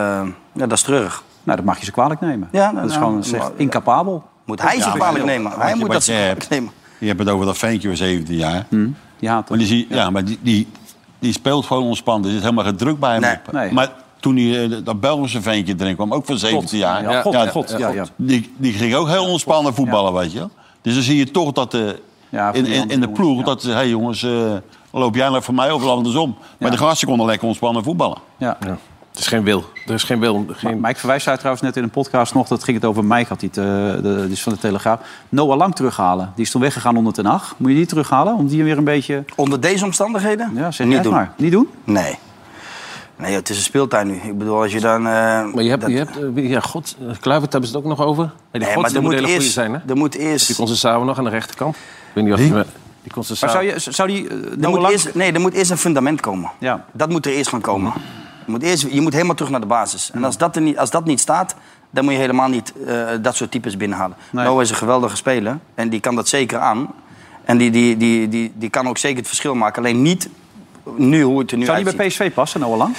Speaker 4: ja, dat is treurig.
Speaker 2: Nou, dat mag je ze kwalijk nemen.
Speaker 4: Ja,
Speaker 2: dat is
Speaker 4: nou,
Speaker 2: gewoon
Speaker 4: maar-
Speaker 2: zegt, incapabel.
Speaker 4: Moet hij ze
Speaker 3: Ja,
Speaker 4: kwalijk
Speaker 3: maar-
Speaker 4: nemen?
Speaker 3: want
Speaker 4: Hij
Speaker 3: je-
Speaker 4: moet
Speaker 3: wat
Speaker 4: dat
Speaker 3: je
Speaker 4: ze
Speaker 3: hebt,
Speaker 4: kwalijk nemen.
Speaker 3: Je hebt het over dat ventje van 17 jaar.
Speaker 2: Hm, Die haat
Speaker 3: maar die, zie, ja. maar die, die, die speelt gewoon ontspannen. Er zit helemaal geen druk bij hem op.
Speaker 2: nee.
Speaker 3: Maar toen die, eh, dat Belgische ventje erin kwam, ook van 17 jaar.
Speaker 2: Ja, God, God, ja, ja.
Speaker 3: Die, die ging ook heel ontspannen voetballen, weet je wel. Dus dan zie je toch dat de,
Speaker 2: van
Speaker 3: in,
Speaker 2: die
Speaker 3: in, in de
Speaker 2: andere
Speaker 3: ploeg... dat ze, hé hey jongens, eh, loop jij nou voor mij of andersom. Maar de gasten konden lekker ontspannen voetballen.
Speaker 2: Ja.
Speaker 5: Het is geen wil. Er is geen wil.
Speaker 2: Maar Mike verwijst daar trouwens net in een podcast nog... dat ging het over Mike, had die, het, eh, de, die is van de Telegraaf. Noah Lang terughalen. Die is toen weggegaan onder Ten Hag. Moet je die terughalen? Om die weer een beetje...
Speaker 4: Onder deze omstandigheden?
Speaker 2: Ja, zeg
Speaker 4: Niet
Speaker 2: jij het
Speaker 4: doen.
Speaker 2: maar. Niet doen?
Speaker 4: Nee. Nee, het is een speeltuin nu. Ik bedoel, als je dan... eh,
Speaker 5: Maar je hebt,
Speaker 4: dat-
Speaker 5: je hebt eh, wie- ja, God, eh, Kluivert hebben ze het ook nog over. En die
Speaker 4: Nee,
Speaker 5: God,
Speaker 4: maar
Speaker 5: die
Speaker 4: er
Speaker 5: moet
Speaker 4: moet
Speaker 5: hele goede
Speaker 4: eerst-
Speaker 5: zijn, hè?
Speaker 4: Er moet eerst...
Speaker 5: Die Concessao nog aan de rechterkant. Ik weet niet wat die, die Concessao...
Speaker 4: Maar zou
Speaker 2: je, zou die, eh, nou,
Speaker 4: er moet eerst, nee, er moet eerst een fundament komen.
Speaker 2: Ja. Mm.
Speaker 4: Dat moet er eerst gaan komen. Je moet, eerst, je moet helemaal terug naar de basis. En als dat, er niet, als dat niet staat, dan moet je helemaal niet eh, dat soort types binnenhalen.
Speaker 2: Nee.
Speaker 4: Noah is een geweldige speler en die kan dat zeker aan. En die, die, die, die, die kan ook zeker het verschil maken. Alleen niet nu hoe het er nu
Speaker 2: Zou die
Speaker 4: uitziet.
Speaker 2: bij PSV passen, Noah Lang?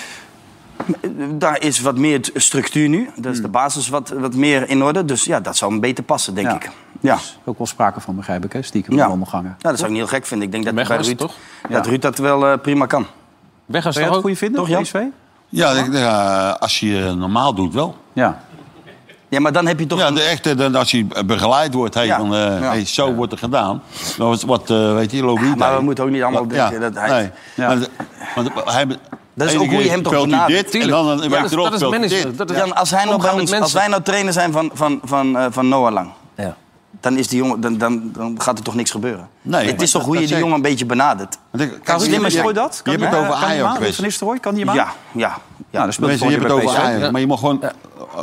Speaker 4: Daar is wat meer t- structuur nu. Daar
Speaker 2: Mm.
Speaker 4: is de basis wat, wat meer in orde. Dus ja, dat zou hem beter passen, denk ik. Ja.
Speaker 2: Ook wel sprake van, begrijp ik, hè? Stiekem
Speaker 4: Ja.
Speaker 2: ja. wandelgangen.
Speaker 4: Ja, Nou, dat zou ik niet heel gek vinden. Ik denk dat,
Speaker 2: Weghorst,
Speaker 4: bij Ruud,
Speaker 2: toch?
Speaker 4: dat
Speaker 2: Ja.
Speaker 4: Ruud dat wel eh, prima kan.
Speaker 5: Weg als
Speaker 2: Zou jij het goede vinden,
Speaker 4: Toch, Jan?
Speaker 2: PSV?
Speaker 3: Ja, ik- ja, als je eh, normaal doet wel.
Speaker 2: Ja.
Speaker 4: Ja, maar dan heb je toch...
Speaker 3: Ja, de echte, dan als je begeleid wordt, hey,
Speaker 4: Ja.
Speaker 3: van, eh,
Speaker 4: Ja.
Speaker 3: hey, zo wordt er gedaan. Dan was wat, eh, weet je, Lobby.
Speaker 4: maar we moeten ook niet allemaal denken dat hij-
Speaker 3: Nee.
Speaker 4: Ja.
Speaker 3: Maar de- Want, hij...
Speaker 4: Dat is
Speaker 3: ene
Speaker 4: ook hoe je
Speaker 3: keer
Speaker 4: hem toch
Speaker 3: speelt hij
Speaker 4: benadert.
Speaker 3: dit, en dan een week erop speelt hij dit.
Speaker 4: Jan, als, hij nou bij ons,
Speaker 5: met
Speaker 4: als
Speaker 5: mensen.
Speaker 4: wij nou trainer zijn van, van, van, eh, van Noah Lang...
Speaker 5: Ja.
Speaker 4: Dan, is die jongen, dan, dan, dan gaat er toch niks gebeuren?
Speaker 3: Nee,
Speaker 4: het is
Speaker 3: dat-
Speaker 4: toch hoe
Speaker 3: dat
Speaker 4: je die
Speaker 3: zeker.
Speaker 4: jongen een beetje benadert?
Speaker 3: kijk,
Speaker 4: Slimmer
Speaker 3: je- je-
Speaker 4: zijn.
Speaker 3: je hebt het over
Speaker 2: kan die maan,
Speaker 3: Ajax
Speaker 2: Ruud
Speaker 3: geweest.
Speaker 2: van Nistelrooy, kan die hem
Speaker 4: Ja,
Speaker 2: aan?
Speaker 4: ja. ja.
Speaker 2: Nou, dat speelt
Speaker 3: Mensen, je
Speaker 2: voor
Speaker 3: hebt het
Speaker 2: bij
Speaker 3: over
Speaker 2: PSV.
Speaker 3: Ajax, maar je mag gewoon eh,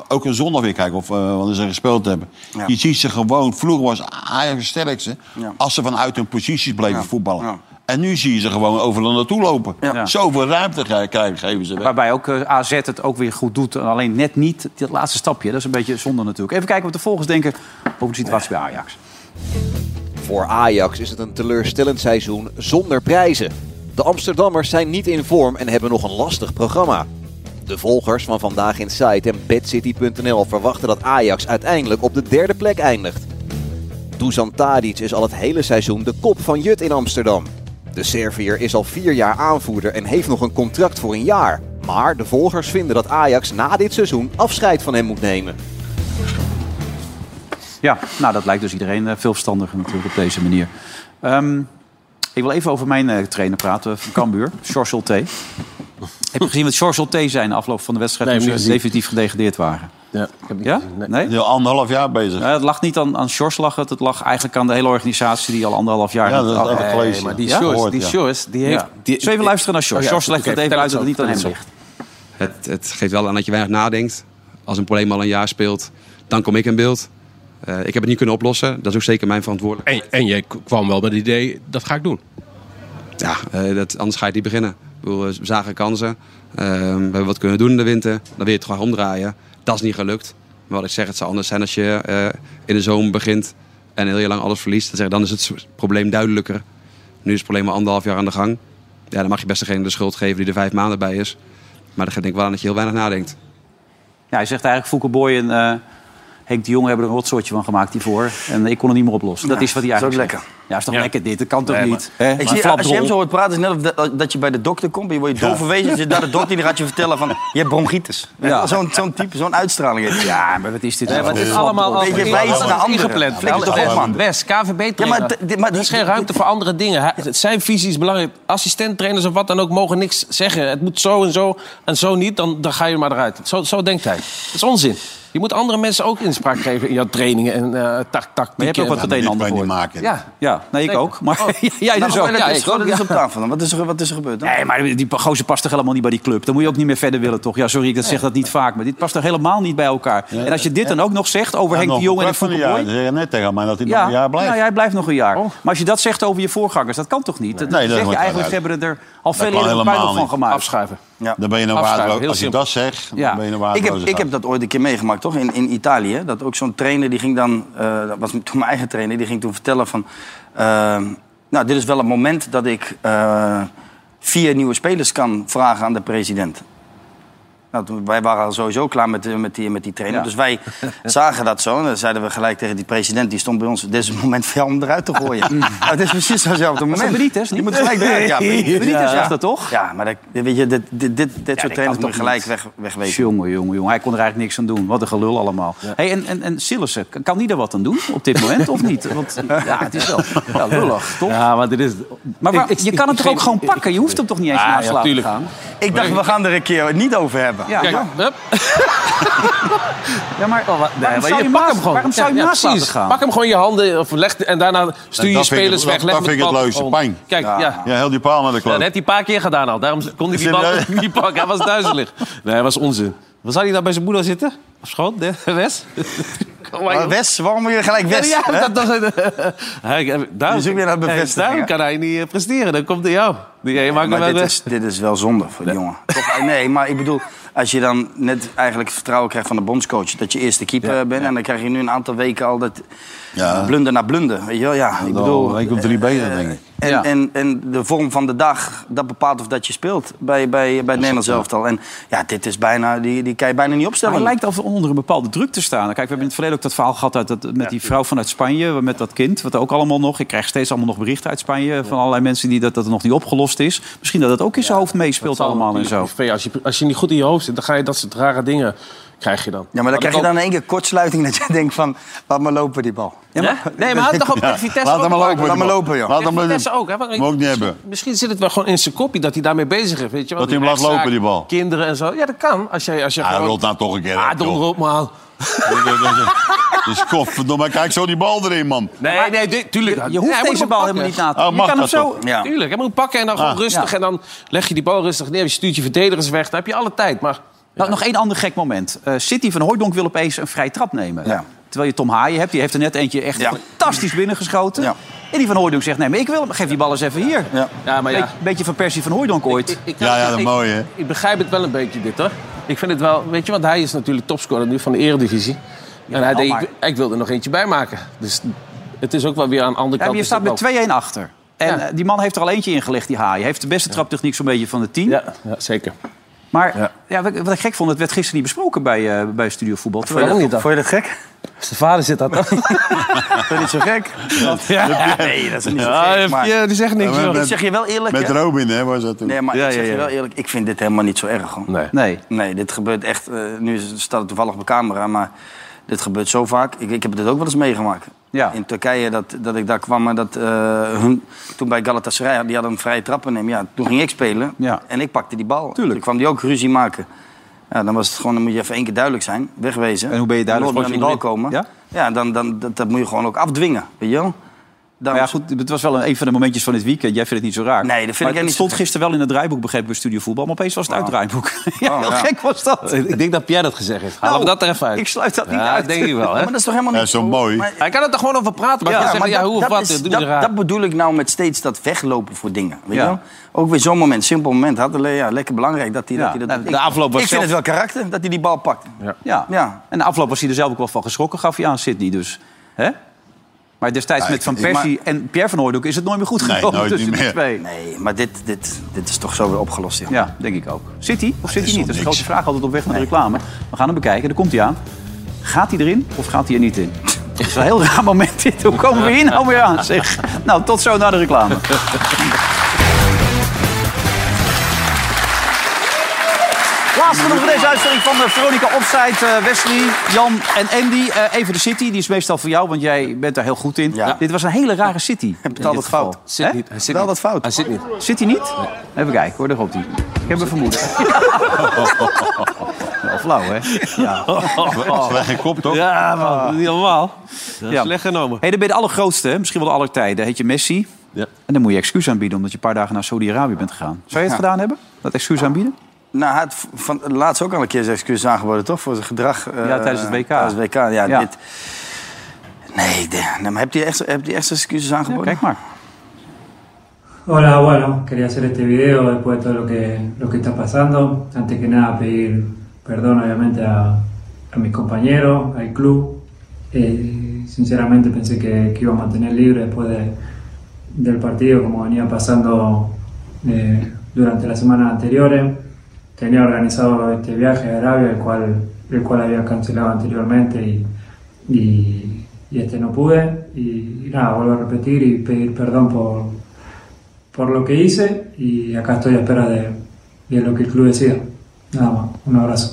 Speaker 3: ook een zondag weer kijken of eh wanneer ze gespeeld hebben.
Speaker 4: Ja.
Speaker 3: Je ziet ze gewoon, vroeger was Ajax het sterkste
Speaker 4: Ja.
Speaker 3: als ze vanuit hun posities bleven
Speaker 4: Ja.
Speaker 3: voetballen.
Speaker 4: Ja.
Speaker 3: En nu zie je ze gewoon overal naartoe lopen.
Speaker 2: Ja.
Speaker 3: Zoveel ruimte ge- krijgen, geven ze weg.
Speaker 2: Waarbij ook eh, AZ het ook weer goed doet. en Alleen net niet dat laatste stapje. Dat is een beetje zonde natuurlijk. Even kijken wat de volgers denken over de situatie bij Ajax.
Speaker 15: Voor Ajax is het een teleurstellend seizoen zonder prijzen. De Amsterdammers zijn niet in vorm en hebben nog een lastig programma. De volgers van Vandaag in Site en BadCity.nl verwachten dat Ajax uiteindelijk op de derde plek eindigt. Dusan Tadic is al het hele seizoen de kop van Jut in Amsterdam. De Serviër is al vier jaar aanvoerder en heeft nog een contract voor een jaar. Maar de volgers vinden dat Ajax na dit seizoen afscheid van hem moet nemen.
Speaker 2: Ja, nou dat lijkt dus iedereen eh, veel verstandiger natuurlijk op deze manier. Ehm, ik wil even over mijn eh, trainer praten, van Cambuur, (laughs) George Solté. Heb je gezien wat George Solté zei in de afloop van de wedstrijd...
Speaker 5: Nee,
Speaker 2: toen
Speaker 5: heb
Speaker 2: ze
Speaker 5: ik niet
Speaker 2: definitief gedegradeerd waren?
Speaker 5: Ja, ik heb niet
Speaker 2: Ja?
Speaker 5: gezien.
Speaker 2: Nee?
Speaker 3: anderhalf jaar bezig.
Speaker 2: Ja, het lag niet aan, aan George lag het. Het lag eigenlijk aan de hele organisatie die al anderhalf jaar...
Speaker 3: Ja,
Speaker 2: niet
Speaker 3: dat
Speaker 2: had.
Speaker 3: had ik gelezen.
Speaker 5: Nee, maar die George, die George, die heeft- die-
Speaker 2: Zullen we even luisteren naar George?
Speaker 16: Oh ja,
Speaker 2: George legt
Speaker 16: oké,
Speaker 2: het even uit dat
Speaker 16: vertel
Speaker 2: het
Speaker 16: het
Speaker 2: niet aan hem
Speaker 16: zo,
Speaker 2: ligt.
Speaker 16: Het, het geeft wel aan dat je weinig nadenkt. Als een probleem al een jaar speelt, dan kom ik in beeld. Eh, ik heb het niet kunnen oplossen. Dat is ook zeker mijn verantwoordelijkheid. En, jij kwam wel met het idee, dat ga ik doen? Ja, eh, dat, anders ga je het niet beginnen. Ik bedoel, eh, we zagen kansen. Eh, we hebben wat kunnen doen in de winter. Dan wil je het gewoon omdraaien. Dat is niet gelukt. Maar wat ik zeg, het zou anders zijn als je eh, in de zomer begint... en heel lang alles verliest. Dan, zeg, ik, dan is het probleem duidelijker. Nu is het probleem al anderhalf jaar aan de gang. Ja, dan mag je best degene de schuld geven die er vijf maanden bij is. Maar dat geeft denk ik wel aan dat je heel weinig nadenkt.
Speaker 2: Ja, hij zegt eigenlijk Foucault Boy en eh, Henk de Jong hebben er een rotsoortje van gemaakt hiervoor. En ik kon het niet meer oplossen. Dat
Speaker 4: Ja,
Speaker 2: is wat hij
Speaker 4: is ook
Speaker 2: eigenlijk
Speaker 4: lekker.
Speaker 2: zegt. Ja, is toch lekker dit? Dat kan toch
Speaker 4: Nee,
Speaker 2: niet?
Speaker 4: maar-
Speaker 2: Hè?
Speaker 4: Ik
Speaker 2: Maar
Speaker 4: zie, als je hem
Speaker 2: flapdrol.
Speaker 4: zo hoort praten, is het net of dat, dat je bij de dokter komt. Je wordt je
Speaker 2: Ja.
Speaker 4: doorverwezen. Je zit naar de dokter die gaat je vertellen van... Je hebt bronchitis.
Speaker 2: Ja.
Speaker 4: Zo'n zo'n type, zo'n uitstraling. heeft hij.
Speaker 2: Ja, maar wat is dit?
Speaker 4: Nee,
Speaker 2: nou
Speaker 4: maar het
Speaker 2: voor
Speaker 4: is allemaal
Speaker 2: flapdrol?
Speaker 4: al- Weet je, wij iets naar anderen.
Speaker 5: ingepland.
Speaker 4: Flikker
Speaker 5: Alles
Speaker 4: toch op,
Speaker 5: is
Speaker 4: man.
Speaker 5: Best, KVB
Speaker 4: Ja, maar
Speaker 5: trainer. Er is geen ruimte voor andere dingen. Hij- Zijn visie is belangrijk. Assistenttrainers of wat dan ook mogen niks zeggen. Het moet zo en zo en zo niet, dan, dan ga je er maar eruit. Zo, zo denkt hij. Dat is onzin. Je moet andere mensen ook inspraak geven in jouw trainingen en eh tak, tak.
Speaker 2: Maar je hebt ook wat meteen ander voor. Ja, ja. Nee, ik
Speaker 5: Nee.
Speaker 2: ook. Maar jij
Speaker 5: Nou,
Speaker 2: dus
Speaker 5: maar
Speaker 2: ook.
Speaker 5: dat
Speaker 2: (laughs) Ja,
Speaker 5: is
Speaker 2: ik
Speaker 5: gewoon-
Speaker 2: ook,
Speaker 5: dat is
Speaker 2: ja.
Speaker 5: op
Speaker 4: tafel dan. Wat is er, wat is er gebeurd dan?
Speaker 2: Nee, maar die gozer past toch helemaal niet bij die club. Dan moet je ook niet meer verder willen, toch? Ja, sorry, ik dat zeg dat niet vaak. Maar dit past toch helemaal niet bij elkaar. En als je dit dan ook nog zegt over Henk de Jong en de
Speaker 3: Ja,
Speaker 2: voetbalboy...
Speaker 3: zei net tegen mij dat hij nog
Speaker 2: Ja,
Speaker 3: een jaar blijft.
Speaker 2: nou, ja, hij blijft nog een jaar. Maar als je dat zegt over je voorgangers, dat kan toch niet? Dat,
Speaker 3: Nee,
Speaker 2: dat
Speaker 3: dat
Speaker 2: zeg je
Speaker 3: wordt
Speaker 2: eigenlijk, ze
Speaker 3: eruit.
Speaker 2: hebben er al
Speaker 3: Dat
Speaker 2: veel
Speaker 3: kan
Speaker 2: eerder een
Speaker 3: helemaal
Speaker 2: puinhoop van
Speaker 3: niet.
Speaker 2: gemaakt.
Speaker 5: Afschuiven.
Speaker 4: Ja.
Speaker 3: Dan ben je een
Speaker 4: Afschuiven,
Speaker 3: waardeloos.
Speaker 4: heel
Speaker 3: Als je
Speaker 4: simpel.
Speaker 3: dat zegt,
Speaker 4: Ja.
Speaker 3: dan ben je nou een
Speaker 4: Ik heb,
Speaker 3: waardeloze
Speaker 4: ik heb dat ooit een keer meegemaakt, toch? In, in Italië. Dat ook zo'n trainer, die ging dan... eh, dat was toen mijn eigen trainer. Die ging toen vertellen van... eh, nou, dit is wel het moment dat ik eh, vier nieuwe spelers kan vragen aan de president. Nou, toen- wij waren al sowieso klaar met, eh, met, die, met die trainer.
Speaker 2: Ja.
Speaker 4: Dus
Speaker 2: (laughs)
Speaker 4: wij zagen dat zo. En dan zeiden we gelijk tegen die president... die stond bij ons, dit is het moment voor jou om eruit te gooien. nou, het is precies hetzelfde
Speaker 2: Was
Speaker 4: moment.
Speaker 2: Mm. dat Benitez Ah, niet?
Speaker 4: Je moet gelijk eruit. Ja,
Speaker 2: Benitez
Speaker 4: ja.
Speaker 2: zag dat toch?
Speaker 4: Ja, maar dat, weet je, dit, dit, dit, dit soort trainers moet je gelijk weg, wegwezen.
Speaker 2: Jongen, jongen, jongen. Hij kon er eigenlijk niks aan doen. Wat een gelul allemaal. Hey, en, en, en Sillissen, k- kan die er wat aan doen op dit moment
Speaker 4: (laughs)
Speaker 2: of niet? Want
Speaker 5: (laughs)
Speaker 2: ja, het is wel ja, lullig, toch?
Speaker 6: Ja, maar dit is...
Speaker 2: Maar waar-
Speaker 6: Ik- ik-
Speaker 2: je kan het
Speaker 6: ik-
Speaker 2: toch ook
Speaker 6: ik-
Speaker 2: gewoon pakken? Je hoeft hem toch niet eens
Speaker 6: Ah,
Speaker 2: naast
Speaker 6: ja,
Speaker 2: te laten
Speaker 6: tuurlijk.
Speaker 2: gaan?
Speaker 4: Ik dacht, we gaan er een keer niet over hebben.
Speaker 2: Ja,
Speaker 5: Kijk,
Speaker 2: ja.
Speaker 5: hup.
Speaker 2: (laughs) Ja,
Speaker 4: Oh,
Speaker 2: maar
Speaker 5: Nee,
Speaker 2: waarom
Speaker 5: maar
Speaker 2: zou je
Speaker 5: je pak
Speaker 2: naast-
Speaker 5: hem gewoon.
Speaker 2: waarom zou je
Speaker 5: Ja,
Speaker 2: naast
Speaker 5: precies.
Speaker 2: laten gaan?
Speaker 5: Pak hem gewoon in je handen of leg,
Speaker 4: Nou,
Speaker 5: en daarna stuur je
Speaker 3: dat vind ik
Speaker 5: spelers
Speaker 3: het-
Speaker 5: weg.
Speaker 3: dat-
Speaker 5: leg met
Speaker 3: dat vind
Speaker 5: de
Speaker 3: ik het
Speaker 5: bal
Speaker 3: leukste,
Speaker 5: op.
Speaker 3: pijn.
Speaker 5: Kijk, ja. ja.
Speaker 3: Ja, heel die paal naar de
Speaker 5: dat
Speaker 3: kloot.
Speaker 6: heeft hij een paar keer gedaan al. Daarom kon ik die
Speaker 3: Zit
Speaker 6: bal (laughs)
Speaker 3: er-
Speaker 6: niet pakken. Hij was duizelig. Nee, dat was onzin. Wat zou hij
Speaker 2: nou
Speaker 6: daar bij zijn moeder zitten? Op schoot,
Speaker 2: (laughs)
Speaker 6: de- Wes? Kom maar,
Speaker 4: Maar
Speaker 6: joh.
Speaker 4: Wes, waarom moet je gelijk Wes?
Speaker 6: Ja,
Speaker 4: hè?
Speaker 6: dat, dat, (laughs) hij, daarom,
Speaker 4: zoekt weer naar bevestiging,
Speaker 6: daarom
Speaker 4: hè?
Speaker 6: kan hij niet eh, presteren. Dan komt hij jou. Die, jij maakt hem
Speaker 4: maar
Speaker 6: wel
Speaker 4: dit
Speaker 6: Wes.
Speaker 4: is, dit is wel zonde voor die jongen. Toch, (laughs) nee, maar ik bedoel, als je dan net eigenlijk vertrouwen krijgt van de bondscoach... dat je eerste keeper bent en dan krijg je nu een aantal weken al dat...
Speaker 3: Ah.
Speaker 4: blunder na blunder, weet je wel? Ja, ik bedoel... eh,
Speaker 3: Ik op drie benen, denk ik.
Speaker 4: En, en, en de vorm van de dag, dat bepaalt of dat je speelt bij, bij, bij het Nederlands elftal. En ja, dit is bijna, die, die kan je bijna niet opstellen.
Speaker 2: Maar het
Speaker 5: Ah.
Speaker 2: lijkt alsof onder een bepaalde druk te staan. Kijk, we hebben in het verleden ook dat verhaal gehad uit dat, met die vrouw vanuit Spanje, met dat kind, wat ook allemaal nog. Ik krijg steeds allemaal nog berichten uit Spanje van allerlei mensen die dat, dat nog niet opgelost is. Misschien dat dat ook in zijn hoofd meespeelt allemaal en zo.
Speaker 5: Privé, Als je, als je niet goed in je hoofd zit, dan ga je dat soort rare dingen krijg je dan.
Speaker 4: Ja, maar dan krijg je
Speaker 5: dat
Speaker 4: dan in één keer kortsluiting (laughs) dat je denkt van... laat maar lopen die bal.
Speaker 5: Ja, maar-
Speaker 3: (laughs)
Speaker 5: nee, maar hij had toch ook tegen Vitesse
Speaker 3: Laat
Speaker 5: ook
Speaker 3: hem maar
Speaker 5: een
Speaker 3: lopen.
Speaker 5: paar-
Speaker 4: Laat maar lopen, joh.
Speaker 3: Laat hem maar
Speaker 5: Vitesse
Speaker 3: doen.
Speaker 5: ook, hè? want ik-
Speaker 3: Moet ook niet hebben.
Speaker 5: Misschien zit het wel gewoon in zijn kopie dat hij daarmee bezig is. Weet je? wel.
Speaker 3: Dat hij hem laat
Speaker 5: rechtszaak,
Speaker 3: lopen, die bal.
Speaker 5: Kinderen en zo. Ja, dat kan. Als je, als je
Speaker 3: Hij
Speaker 5: gewoon...
Speaker 3: rolt nou toch een keer.
Speaker 5: Ah, donder op, man.
Speaker 3: (laughs) Dus godverdomme, kijk zo die bal erin, man.
Speaker 5: Nee, nee, tu- tuurlijk.
Speaker 2: Je hoeft
Speaker 5: Ja, hij moet
Speaker 2: deze
Speaker 5: hem
Speaker 2: bal
Speaker 5: pakken.
Speaker 2: helemaal niet na te
Speaker 3: Oh,
Speaker 2: Je
Speaker 3: mag
Speaker 2: kan hem
Speaker 3: dat
Speaker 2: zo.
Speaker 3: toch?
Speaker 2: Ja.
Speaker 5: Tuurlijk, hij moet hem pakken en dan
Speaker 2: Ah,
Speaker 5: gewoon rustig.
Speaker 2: ja.
Speaker 5: En dan leg je die bal rustig neer. Je stuurt je verdedigers weg. Dan heb je alle tijd. Maar
Speaker 2: Nou, nog één ander gek moment. Eh, City van Hooijdonk wil opeens een vrij trap nemen.
Speaker 4: Ja.
Speaker 2: Terwijl je Tom Haaien hebt, die heeft er net eentje echt
Speaker 4: Ja.
Speaker 2: fantastisch binnengeschoten.
Speaker 4: Ja.
Speaker 2: En die van Hooijdonk zegt, nee, maar ik wil hem. Geef die bal eens even hier.
Speaker 4: Ja.
Speaker 5: ja, maar ja.
Speaker 2: Beetje, beetje van Persie van Hooijdonk ooit.
Speaker 5: Ik,
Speaker 3: Ja, ja, dat
Speaker 5: ik-
Speaker 3: mooie, hè?
Speaker 5: Ik, begrijp het wel een beetje, dit hoor. Ik vind het wel, weet je, want hij is natuurlijk topscorer nu van de Eredivisie. en hij
Speaker 2: wel,
Speaker 5: denkt,
Speaker 2: maar-
Speaker 5: ik, ik wil er nog eentje bij maken. Dus het is ook wel weer aan de andere
Speaker 2: Ja,
Speaker 5: kant.
Speaker 2: maar je
Speaker 5: is
Speaker 2: staat
Speaker 5: het wel-
Speaker 2: met 2-1 achter. En
Speaker 5: Ja.
Speaker 2: eh, die man heeft er al eentje ingelegd, die Haaien. Hij heeft de beste traptechniek zo'n beetje van de team.
Speaker 5: Ja, ja, zeker.
Speaker 2: Maar ja. wat ik- wat ik gek vond, het werd gisteren niet besproken bij, eh, bij Studio Voetbal.
Speaker 4: Vond je
Speaker 2: Terwijl
Speaker 4: dat-
Speaker 5: niet dan?
Speaker 4: Vond je dat gek?
Speaker 5: Zijn vader zit daar
Speaker 4: (laughs)
Speaker 5: toch?
Speaker 4: Dat is niet zo gek. Nee, dat is niet zo gek. maar-
Speaker 5: die zegt niks.
Speaker 3: Ja,
Speaker 5: joh.
Speaker 3: maar-
Speaker 4: Ik zeg je wel eerlijk,
Speaker 3: Met
Speaker 4: hè?
Speaker 3: Robin, hè, was dat toen.
Speaker 4: Nee, maar
Speaker 2: Ja,
Speaker 4: ik zeg
Speaker 2: ja,
Speaker 4: je
Speaker 2: ja.
Speaker 4: wel
Speaker 3: (laughs)
Speaker 4: eerlijk, ik vind dit helemaal niet zo erg, hoor.
Speaker 5: Nee.
Speaker 2: Nee.
Speaker 4: Nee, dit gebeurt echt. eh, nu is- staat het toevallig op de camera, maar dit gebeurt zo vaak. Ik, ik heb dit ook wel eens meegemaakt.
Speaker 2: Ja.
Speaker 4: In Turkije, dat, dat ik daar kwam en dat eh, hun, toen bij Galatasaray, die hadden een vrije trappen nemen. Ja, toen ging ik spelen
Speaker 2: Ja.
Speaker 4: en ik pakte die bal.
Speaker 2: Tuurlijk.
Speaker 4: Toen kwam die ook ruzie maken. Ja, dan was het gewoon, dan moet je even één keer duidelijk zijn, wegwezen.
Speaker 2: En hoe ben je duidelijk?
Speaker 4: Dan moet je aan die bal komen.
Speaker 2: Ja?
Speaker 4: dan, dan dat, dat moet je gewoon ook afdwingen, weet je wel? Dan,
Speaker 2: Maar Nou ja, goed, het was wel een, een van de momentjes van dit weekend. Jij vindt het niet zo raar.
Speaker 4: Nee, dat vind
Speaker 2: Maar
Speaker 4: ik echt
Speaker 2: Het
Speaker 4: niet
Speaker 2: stond
Speaker 4: zo gek.
Speaker 2: gisteren wel in het draaiboek, begrepen bij Studio Voetbal. Maar opeens was het uit het draaiboek. (laughs) ja,
Speaker 4: Oh,
Speaker 2: heel
Speaker 4: ja.
Speaker 2: gek was dat.
Speaker 5: Ik denk dat Pierre dat gezegd heeft. Halen we
Speaker 2: Nou,
Speaker 5: dat er even uit.
Speaker 2: Ik sluit dat niet
Speaker 5: ja,
Speaker 2: uit.
Speaker 5: dat denk ik
Speaker 2: (laughs)
Speaker 5: wel, hè?
Speaker 4: Maar dat is toch helemaal
Speaker 3: Ja,
Speaker 4: niet
Speaker 3: zo mooi.
Speaker 4: Maar-
Speaker 5: Hij kan er toch gewoon over praten. Maar, ja, zeggen, ja,
Speaker 4: dat-
Speaker 5: hoe of
Speaker 4: dat
Speaker 5: wat,
Speaker 4: is-
Speaker 5: doe je
Speaker 4: dat,
Speaker 5: raar.
Speaker 4: dat bedoel ik nou met steeds dat weglopen voor dingen. Weet
Speaker 2: Ja.
Speaker 4: je wel? Ook weer zo'n moment, simpel moment. Had alleen, ja, lekker belangrijk dat hij
Speaker 2: Ja,
Speaker 4: dat. hij dat
Speaker 2: nou,
Speaker 4: doet.
Speaker 2: de
Speaker 4: Ik-
Speaker 2: afloop was
Speaker 4: Ik
Speaker 2: zelf-
Speaker 4: vind het wel karakter dat hij die bal pakt.
Speaker 2: Ja.
Speaker 4: Ja.
Speaker 2: En de afloop was hij er zelf ook wel van geschrokken, gaf hij aan Sydney dus. Hè? Maar destijds
Speaker 3: Ja,
Speaker 2: met
Speaker 3: ik-
Speaker 2: Van
Speaker 3: ik-
Speaker 2: Persie en Pierre van Hooydonk is het nooit meer goed
Speaker 3: Nee,
Speaker 2: gekomen
Speaker 3: nooit
Speaker 2: tussen
Speaker 3: niet
Speaker 2: die
Speaker 3: meer.
Speaker 2: twee.
Speaker 4: Nee, maar dit, dit, dit is toch zo weer opgelost. joh.
Speaker 2: Ja, denk ik ook. Zit hij of zit
Speaker 3: is
Speaker 2: hij niet?
Speaker 3: toch
Speaker 2: Dat is de
Speaker 3: niks.
Speaker 2: grote vraag altijd op weg naar de reclame. We gaan hem bekijken, daar komt hij aan. Gaat hij erin of gaat hij er niet in? Het is een heel raar moment dit. Hoe komen we hier nou weer aan? Zeg. Nou, tot zo naar de reclame. Laatste nog voor deze uitzending van eh, Veronica Offside. eh, Wesley, Jan en Andy. Eh, even de City, die is meestal voor jou, want jij bent daar heel goed in. Dit was een hele rare City. Heb je het fout? Zit niet. Hij zit wel wat fout. Hij zit niet. Zit hij niet? Even kijken hoor, daar komt hij. Ik heb een vermoeden. (laughs) Wel flauw, hè? Ja.
Speaker 5: (laughs)
Speaker 3: Oh. Slecht kop, toch?
Speaker 2: Ja, man. Niet normaal.
Speaker 5: Dat is slecht genomen.
Speaker 2: Hey, dan ben je de allergrootste, hè? misschien wel de aller tijden. Heet je Messi. Ja. En dan moet je excuus aanbieden omdat je een paar dagen naar Saudi-Arabië bent gegaan. Zou je het
Speaker 4: Ja.
Speaker 2: gedaan hebben? Dat excuus aanbieden?
Speaker 4: Nou, hij had v- van, laatst ook al een keer zijn excuses aangeboden, toch? Voor zijn gedrag. eh,
Speaker 2: Ja, tijdens het WK.
Speaker 4: Tijdens het WK, ja.
Speaker 2: Ja.
Speaker 4: Dit... Nee, de, nou, maar heb je echt, heb je echt zijn excuses aangeboden?
Speaker 2: kijk maar.
Speaker 17: Hola, bueno, quería hacer este video después de todo lo que, lo que está pasando. Antes que nada, pedir perdón obviamente a, a mis compañeros, al club. Eh, sinceramente pensé que, que iba a mantener libre después de- del partido, como venía pasando eh, durante las semanas anteriores. Tenía organizado este viaje a Arabia, el cual, el cual había cancelado anteriormente y, y- y este no pude. Y, y nada, vuelvo a repetir y pedir perdón por, por lo que hice y acá estoy a espera de, de lo que el club decida. Nada más, un abrazo.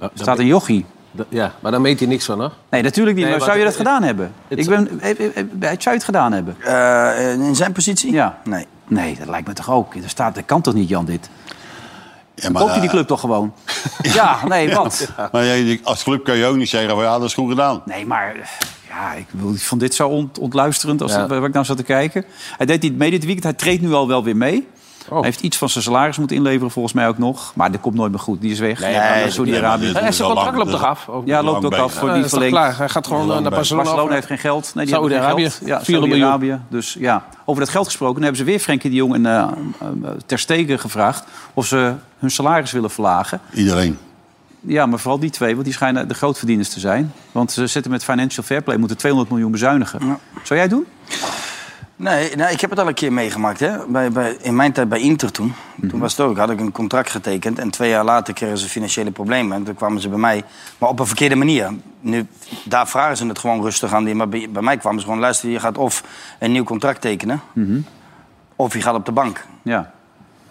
Speaker 5: Er
Speaker 2: staat een jochie.
Speaker 5: Ja, maar daar meet hij niks van, hè?
Speaker 2: Nee, natuurlijk niet.
Speaker 5: Nee,
Speaker 2: maar
Speaker 5: maar
Speaker 2: zou je dat
Speaker 5: het-
Speaker 2: gedaan hebben? Ik ben, eh, eh, eh, zou je het gedaan hebben?
Speaker 5: Eh,
Speaker 4: in zijn positie?
Speaker 2: Ja.
Speaker 4: Nee.
Speaker 2: Nee, dat lijkt me toch ook. Er staat, dat kan toch niet, Jan, dit? Ja,
Speaker 3: maar,
Speaker 2: Koopt hij die
Speaker 3: eh,
Speaker 2: club toch gewoon? ja, nee, wat?
Speaker 3: (laughs) Maar jij- als club kan je ook niet zeggen van ja, dat is goed gedaan.
Speaker 2: Nee, maar eh, ja, ik bedoel, ik vond dit zo ont- ontluisterend als
Speaker 3: Ja.
Speaker 2: dat- waar ik naar zat te kijken. Hij deed niet mee dit weekend. Hij treedt nu al wel weer mee.
Speaker 5: Oh.
Speaker 2: Hij heeft iets van zijn salaris moeten inleveren, volgens mij ook nog. maar dat komt nooit meer goed. Die is weg.
Speaker 5: Nee,
Speaker 2: Ja,
Speaker 5: nee,
Speaker 2: naar
Speaker 5: dat-
Speaker 2: Saudi-Arabië.
Speaker 5: nee, maar dit En is zijn al contract lang- loopt toch af? Ook
Speaker 2: Ja, loopt
Speaker 5: lang
Speaker 2: ook af.
Speaker 5: bezig.
Speaker 2: Voor
Speaker 5: Ja,
Speaker 2: die
Speaker 5: dat is toch
Speaker 2: verlengd.
Speaker 5: klaar? Hij gaat gewoon, Lang eh, naar bezig. Barcelona
Speaker 2: Barcelona
Speaker 5: over.
Speaker 2: heeft geen geld. Nee, die hebben geen
Speaker 5: Saudi-Arabië,
Speaker 2: geld. Ja,
Speaker 5: 400 miljoen.
Speaker 2: Saudi-Arabië. Dus ja, over dat geld gesproken. Dan hebben ze weer Frenkie de Jong en eh, eh, Ter Stegen gevraagd... of ze hun salaris willen verlagen.
Speaker 3: Iedereen.
Speaker 2: Ja, maar vooral die twee, want die schijnen de grootverdieners te zijn. Want ze zitten met financial fair play, moeten 200 miljoen bezuinigen. Zou jij het doen?
Speaker 4: Nee, nee, Nou, ik heb het al een keer meegemaakt. Hè? Bij, bij, in mijn tijd bij Inter toen.
Speaker 2: Mhm.
Speaker 4: Toen was het ook, had ik een contract getekend. En twee jaar later kregen ze financiële problemen. En toen kwamen ze bij mij, maar op een verkeerde manier. Nu, daar vragen ze het gewoon rustig aan. die- Maar bij, bij mij kwamen ze gewoon, luister, je gaat of een nieuw contract tekenen... of je gaat op de bank.
Speaker 2: Mhm. Ja.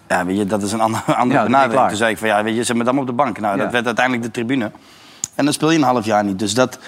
Speaker 4: Ja, weet je, dat is een (laughs) andere,
Speaker 2: Ja,
Speaker 4: andere
Speaker 2: dan ben je
Speaker 4: benadering.
Speaker 2: klaar.
Speaker 4: Toen zei ik van, ja, weet je, zet me dan op de bank. Nou,
Speaker 2: Ja.
Speaker 4: dat werd uiteindelijk de tribune. En dan speel je een half jaar niet. Dus dat,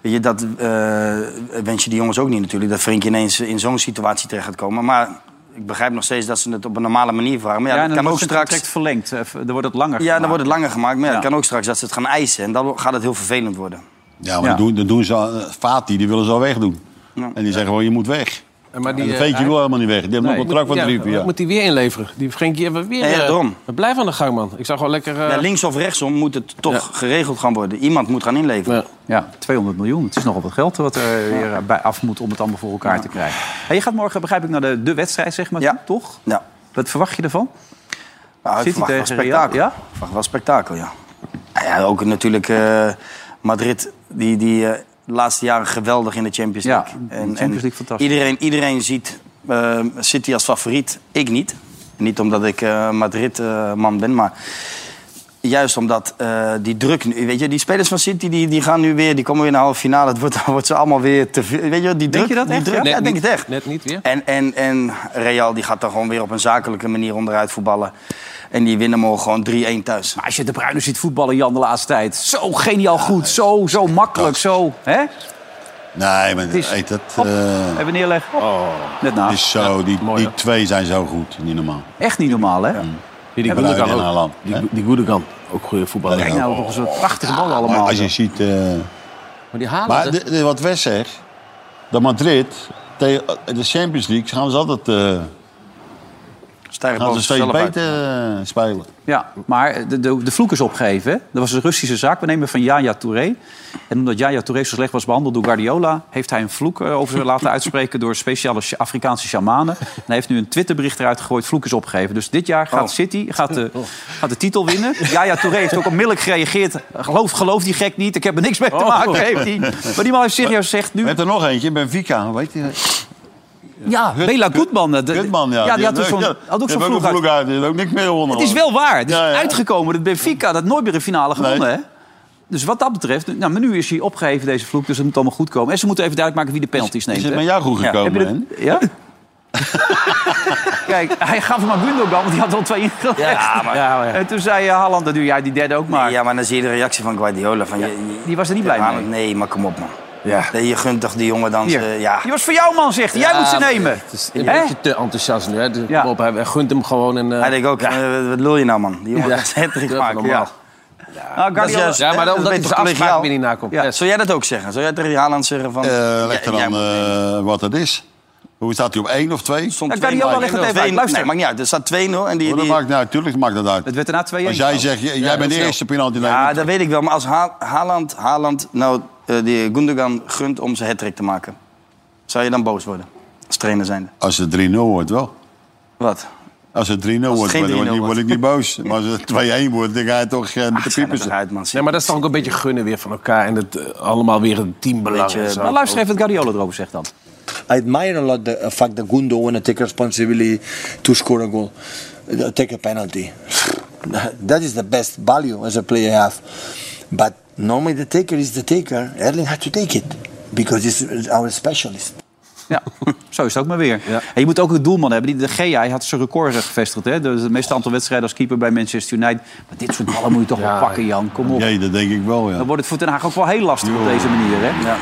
Speaker 4: weet je, dat eh, wens je die jongens ook niet natuurlijk. Dat Frenkie ineens in zo'n situatie terecht gaat komen. Maar ik begrijp nog steeds dat ze het op een normale manier vragen. Maar ja,
Speaker 2: en
Speaker 4: dat
Speaker 2: dan
Speaker 4: kan ook
Speaker 2: wordt het
Speaker 4: straks...
Speaker 2: contract verlengd. Eh, Dan wordt het langer
Speaker 4: Ja, dan wordt het langer gemaakt. Maar ja,
Speaker 2: Ja.
Speaker 4: het kan ook straks dat ze het gaan eisen. En dan gaat het heel vervelend worden.
Speaker 3: Ja, maar Dan, doen, dan doen ze al- eh, Fati, die willen ze al wegdoen. En die zeggen gewoon, je moet weg.
Speaker 5: En Maar
Speaker 3: en
Speaker 5: eh,
Speaker 3: dat weet je
Speaker 5: hij-
Speaker 3: wil helemaal niet weg. Die hebben nog een contract van
Speaker 5: ja,
Speaker 3: drie per jaar.
Speaker 5: Moet hij weer inleveren? Die Frenkie hebben we weer.
Speaker 4: Ja, ja,
Speaker 5: eh,
Speaker 4: daarom.
Speaker 5: we blijven aan de gang, man. Ik zag wel lekker. eh,
Speaker 4: Ja, links of rechtsom moet het toch geregeld gaan worden. Iemand moet gaan inleveren.
Speaker 2: Ja, 200 miljoen. Het is nogal wat geld wat eh, er weer bij af moet om het allemaal voor elkaar te krijgen. Hey, je gaat morgen, begrijp ik, naar de, de wedstrijd, zeg maar, toe, toch?
Speaker 4: Ja.
Speaker 2: Wat verwacht je ervan?
Speaker 4: Nou, ik
Speaker 2: City
Speaker 4: verwacht wel
Speaker 2: tegen Real,
Speaker 4: spektakel.
Speaker 2: ja?
Speaker 4: Ik verwacht wel spektakel, ja. Nou ja ook natuurlijk eh, Madrid, die, die eh, de laatste jaren geweldig in de Champions League.
Speaker 2: de Champions League fantastisch.
Speaker 4: Iedereen, iedereen ziet eh, City als favoriet, ik niet. Niet omdat ik eh, Madrid-man ben, maar juist omdat eh, die druk nu... Weet je, die spelers van City die, die gaan nu weer, die komen weer naar de halve finale. Het wordt, (laughs) wordt ze allemaal weer te veel. Weet je, die druk...
Speaker 5: je dat
Speaker 4: die
Speaker 5: echt,
Speaker 4: druk-
Speaker 5: ja?
Speaker 4: ja,
Speaker 5: Net
Speaker 4: ik denk
Speaker 5: niet.
Speaker 4: het echt.
Speaker 5: Net niet weer.
Speaker 4: En, en, en Real die gaat dan gewoon weer op een zakelijke manier onderuit voetballen. En die winnen morgen gewoon 3-1 thuis.
Speaker 2: Maar als je de Bruyne ziet voetballen, Jan, de laatste tijd. Zo geniaal goed, zo, Oh, zo makkelijk, zo. Hè?
Speaker 3: Nee, maar
Speaker 2: is-
Speaker 3: eet dat... eh,
Speaker 2: Even neerleggen.
Speaker 4: Oh.
Speaker 2: Net
Speaker 3: het
Speaker 2: na.
Speaker 3: is zo, die, die twee zijn zo goed, niet normaal.
Speaker 2: Echt niet normaal, hè?
Speaker 3: Die
Speaker 2: Hebben we
Speaker 3: Bruin
Speaker 2: daar
Speaker 3: en
Speaker 2: ook.
Speaker 3: Haaland. hè?
Speaker 5: Die Goedegan, ook goede voetballer.
Speaker 2: Kijk nou, toch een prachtige bal allemaal.
Speaker 3: Maar als je ziet... eh,
Speaker 5: Maar die halen
Speaker 3: maar de- de- wat Wes zegt, dat Madrid, tegen eh, de Champions League, gaan ze altijd... eh, gaan
Speaker 4: boven
Speaker 3: ze steeds
Speaker 4: zichzelf uit.
Speaker 3: beter eh, spelen.
Speaker 2: Ja, maar de, de, de vloek is opgegeven. hè. Dat was een Russische zaak. We nemen van Yaya Touré. En omdat Yaya Touré zo slecht was behandeld door Guardiola... heeft hij een vloek eh, over zich laten (laughs) uitspreken... door speciale sja- Afrikaanse shamanen. En hij heeft nu een Twitterbericht eruit gegooid. Vloek is opgegeven. Dus dit jaar gaat
Speaker 4: (laughs) Oh.
Speaker 2: City gaat de, gaat de titel winnen. Yaya Touré heeft ook onmiddellijk gereageerd. Geloof, geloof die gek niet. Ik heb er niks mee
Speaker 4: Oh.
Speaker 2: te maken. Heeft hij. Maar die man heeft serieus gezegd nu...
Speaker 3: We hebben er nog eentje, Benfica, weet je...
Speaker 2: Ja, Bela Goodman. de- de-
Speaker 3: Goodman, ja.
Speaker 2: die had, toen zo'n-
Speaker 3: ja,
Speaker 2: had ook zo'n
Speaker 3: die heeft
Speaker 2: vloek uit.
Speaker 3: een uit. Die heeft ook niks meer gewonnen.
Speaker 2: Het is wel waar. Het is
Speaker 3: Ja, ja.
Speaker 2: uitgekomen dat Benfica dat nooit meer een finale gewonnen,
Speaker 3: Nee.
Speaker 2: hè? Dus wat dat betreft, nou, maar nu is hij opgeheven, deze vloek, dus het moet allemaal goed komen. En ze moeten even duidelijk maken wie de penalties neemt.
Speaker 3: is het
Speaker 2: hè?
Speaker 3: met jou goed gekomen,
Speaker 2: Heb je dat- Ja? (laughs) Kijk, hij gaf hem aan Gundogan, want die had al twee ingelegd.
Speaker 4: Ja, maar-
Speaker 2: Ja, maar ja. En toen zei eh, Haaland, dat doe jij die derde ook maar.
Speaker 4: Ja, maar dan zie je de reactie van Guardiola. Van,
Speaker 2: die was er niet blij mee.
Speaker 4: Nee, maar kom op, man. Ja. Je gunt toch die jongen dan...
Speaker 2: Hier.
Speaker 4: eh, ja.
Speaker 2: Die was voor jou, man, zegt hij. Jij moet ze
Speaker 5: maar
Speaker 2: nemen.
Speaker 5: Het is een
Speaker 2: Hè?
Speaker 5: beetje te enthousiast nu. Hè? Dus kom op, hij gunt hem gewoon. En,
Speaker 4: Hij denkt ook, eh, wat lul je nou, man? Die jongen
Speaker 5: Ja.
Speaker 4: gaat het trick
Speaker 5: Dat is
Speaker 4: maken, ja.
Speaker 5: normaal.
Speaker 2: Nou,
Speaker 4: Dat is juist,
Speaker 5: ja, maar
Speaker 4: hè,
Speaker 5: dan,
Speaker 4: dat
Speaker 5: omdat
Speaker 4: is
Speaker 5: hij
Speaker 4: beter
Speaker 5: zijn afspraak
Speaker 4: collegiaal.
Speaker 5: weer niet nakomt.
Speaker 4: Ja. Zou jij dat ook zeggen? Zou jij tegen Haaland zeggen van...
Speaker 3: Eh, ligt er dan eh, wat het is. Hoe staat hij op 1 of 2? Stond
Speaker 4: Ja, Guardiola legt het even uit. Luister. Nee, maakt niet uit. Er staat 2-0 en die...
Speaker 3: dat
Speaker 4: die...
Speaker 3: maakt, nou, tuurlijk maakt dat uit. Het
Speaker 2: werd daarna 2-1.
Speaker 3: Als jij zegt, j- jij bent de eerste penalty.
Speaker 4: Ja, dat weet ik wel. Maar als Ha- Haaland, Haaland nou eh, die Gundogan gunt om zijn hat te maken... zou je dan boos worden? Als trainer zijnde.
Speaker 3: Als het 3-0 wordt wel.
Speaker 4: Wat?
Speaker 3: Als het 3-0 wordt,
Speaker 4: geen
Speaker 3: word,
Speaker 4: 3-0
Speaker 3: word, word ik niet boos. Maar als het 2-1 wordt, dan ga je toch
Speaker 2: Ah,
Speaker 3: eh, te
Speaker 2: Dus
Speaker 3: piepen.
Speaker 5: Dus Nee, maar dat is toch ook een beetje gunnen weer van elkaar. En het eh, allemaal weer een teambelang. en zo.
Speaker 2: Maar luister even wat Guardiola erover zegt dan.
Speaker 18: I admire a lot the uh, fact that Gundo want to take responsibility to score a goal, uh, take a penalty. (sighs) that is the best value as a player I have. But normally the taker is the taker. Erling had to take it because he's our specialist.
Speaker 2: Ja, (laughs) zo is het ook maar weer. En je moet ook een doelman hebben. Die, de Gea hij had zijn record gevestigd. Hè? Dus het meeste aantal wedstrijden als keeper bij Manchester United. Maar dit soort ballen moet je toch wel pakken, Jan. Kom op.
Speaker 3: Nee, dat denk ik wel, ja.
Speaker 2: Dan wordt het voor Den Haag ook wel heel lastig op deze manier. Hè?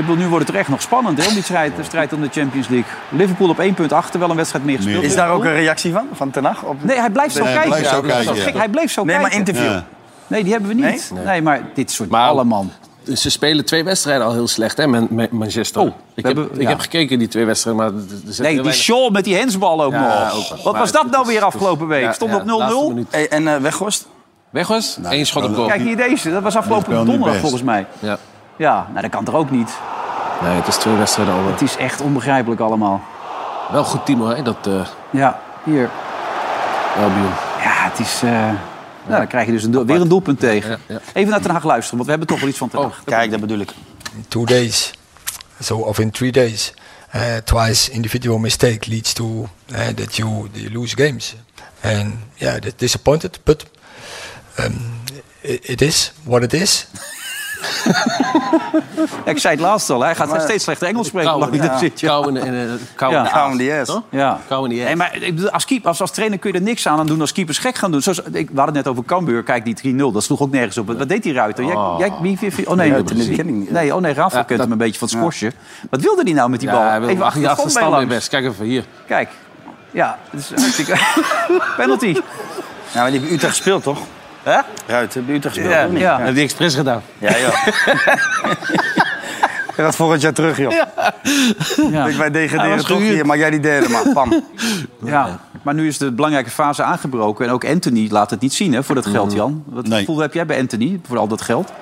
Speaker 2: Ik bedoel, nu wordt het er echt nog spannend hè, om die strijd, de strijd om de Champions League. Liverpool op één punt achter, wel een wedstrijd meer gespeeld.
Speaker 4: Is daar ook een reactie van? Van Ten Hag? Op...
Speaker 2: Nee, hij blijft zo
Speaker 4: Nee, hij
Speaker 2: kijken.
Speaker 4: blijft zo
Speaker 2: Ja, dat is
Speaker 4: kijken,
Speaker 2: gek.
Speaker 4: ja.
Speaker 2: Hij bleef zo
Speaker 4: Nee, maar
Speaker 2: kijken.
Speaker 4: interview. Ja.
Speaker 2: Nee, die hebben we niet. Nee,
Speaker 5: Nee?
Speaker 2: maar dit soort ballen, man.
Speaker 5: Ze spelen twee wedstrijden al heel slecht, hè, Man- Man- Manchester. ik,
Speaker 2: Oh,
Speaker 5: heb,
Speaker 2: hebben-
Speaker 5: ik
Speaker 2: ja.
Speaker 5: heb gekeken die twee wedstrijden, maar... er- er zit
Speaker 2: Nee,
Speaker 5: heel
Speaker 2: die
Speaker 5: weinig-
Speaker 2: Shaw met die hensbal ook
Speaker 5: Ja,
Speaker 2: nog.
Speaker 5: ook wel.
Speaker 2: Wat
Speaker 5: Maar
Speaker 2: was dat
Speaker 5: het
Speaker 2: nou
Speaker 5: is-
Speaker 2: weer afgelopen
Speaker 5: het is-
Speaker 2: week?
Speaker 5: ja,
Speaker 2: Stond
Speaker 5: ja,
Speaker 2: op Nou,
Speaker 5: laatste
Speaker 2: 0-0.
Speaker 5: minuut.
Speaker 4: Hey, en eh Weghorst?
Speaker 5: Weg was? Eén schot op goal.
Speaker 2: Kijk hier deze, dat was
Speaker 5: Die
Speaker 2: afgelopen
Speaker 5: speelt niet
Speaker 2: donderdag
Speaker 5: best.
Speaker 2: volgens mij.
Speaker 5: Ja.
Speaker 2: Ja, nou dat kan toch ook niet.
Speaker 5: Nee, het is twee wedstrijden al.
Speaker 2: Het is echt onbegrijpelijk allemaal.
Speaker 5: Wel goed team, hoor, hè, dat eh
Speaker 2: Ja, hier.
Speaker 5: Albion.
Speaker 2: Ja, het is... eh, Nou, dan krijg je dus een doel- weer een doelpunt tegen. Even naar Den Haag luisteren, want we hebben toch wel iets van
Speaker 5: Oh,
Speaker 2: Ten Haag.
Speaker 4: Kijk, dat bedoel ik.
Speaker 19: two days, so of in three days, uh, twice individual mistake leads to uh, that you, you lose games, and yeah, that disappointed, but um, it, it is what it is.
Speaker 2: Ja, ik zei het laatst al, hij gaat
Speaker 5: Maar-
Speaker 2: steeds slechter Engels spreken.
Speaker 5: Kou-
Speaker 2: omdat hij
Speaker 5: ja.
Speaker 2: er zit, ja.
Speaker 5: Kou in de- in eh, de- kou in de aas, toch?
Speaker 2: Ja. Nee, maar ik bedoel, als, keeper, als, als trainer kun je er niks aan aan doen als keepers gek gaan doen. Zoals, ik, we hadden het net over Cambuur. Kijk, die 3-0, dat sloeg ook nergens op. Wat, wat deed die Ruiter? Jij,
Speaker 5: Oh.
Speaker 2: jij, wie, wie- wie- oh nee,
Speaker 5: Die Ruiter,
Speaker 2: nee,
Speaker 5: die ken ik niet.
Speaker 2: nee, oh nee Rafa
Speaker 5: Ja,
Speaker 2: kent
Speaker 5: dat-
Speaker 2: hem een beetje van het scorsje. Wat wilde hij nou met die bal?
Speaker 5: hij wil-
Speaker 2: even achter
Speaker 5: die
Speaker 2: de kom
Speaker 5: achterstand
Speaker 2: langs.
Speaker 5: weer best. Kijk even hier.
Speaker 2: Kijk, ja, het is hartstikke...
Speaker 4: (laughs)
Speaker 2: Penalty.
Speaker 4: Ja, maar die hebben Utrecht gespeeld, toch?
Speaker 2: Hè?
Speaker 4: Ruiten, hebben Utrecht gespeeld,
Speaker 2: Ja,
Speaker 4: of niet?
Speaker 2: ja.
Speaker 5: Heb je expres gedaan?
Speaker 4: (laughs) Ja, joh. Je gaat volgend jaar terug, joh. Ik, wij
Speaker 2: Hij
Speaker 4: degraderen
Speaker 2: was
Speaker 4: toch
Speaker 2: gehuurd.
Speaker 4: hier, maar jij die derde, man. (laughs) Pam.
Speaker 2: Ja, maar nu is de belangrijke fase aangebroken. En ook Anthony laat het niet zien hè, voor dat
Speaker 3: Mm.
Speaker 2: geld, Jan. Wat gevoel heb jij bij Anthony voor al dat geld?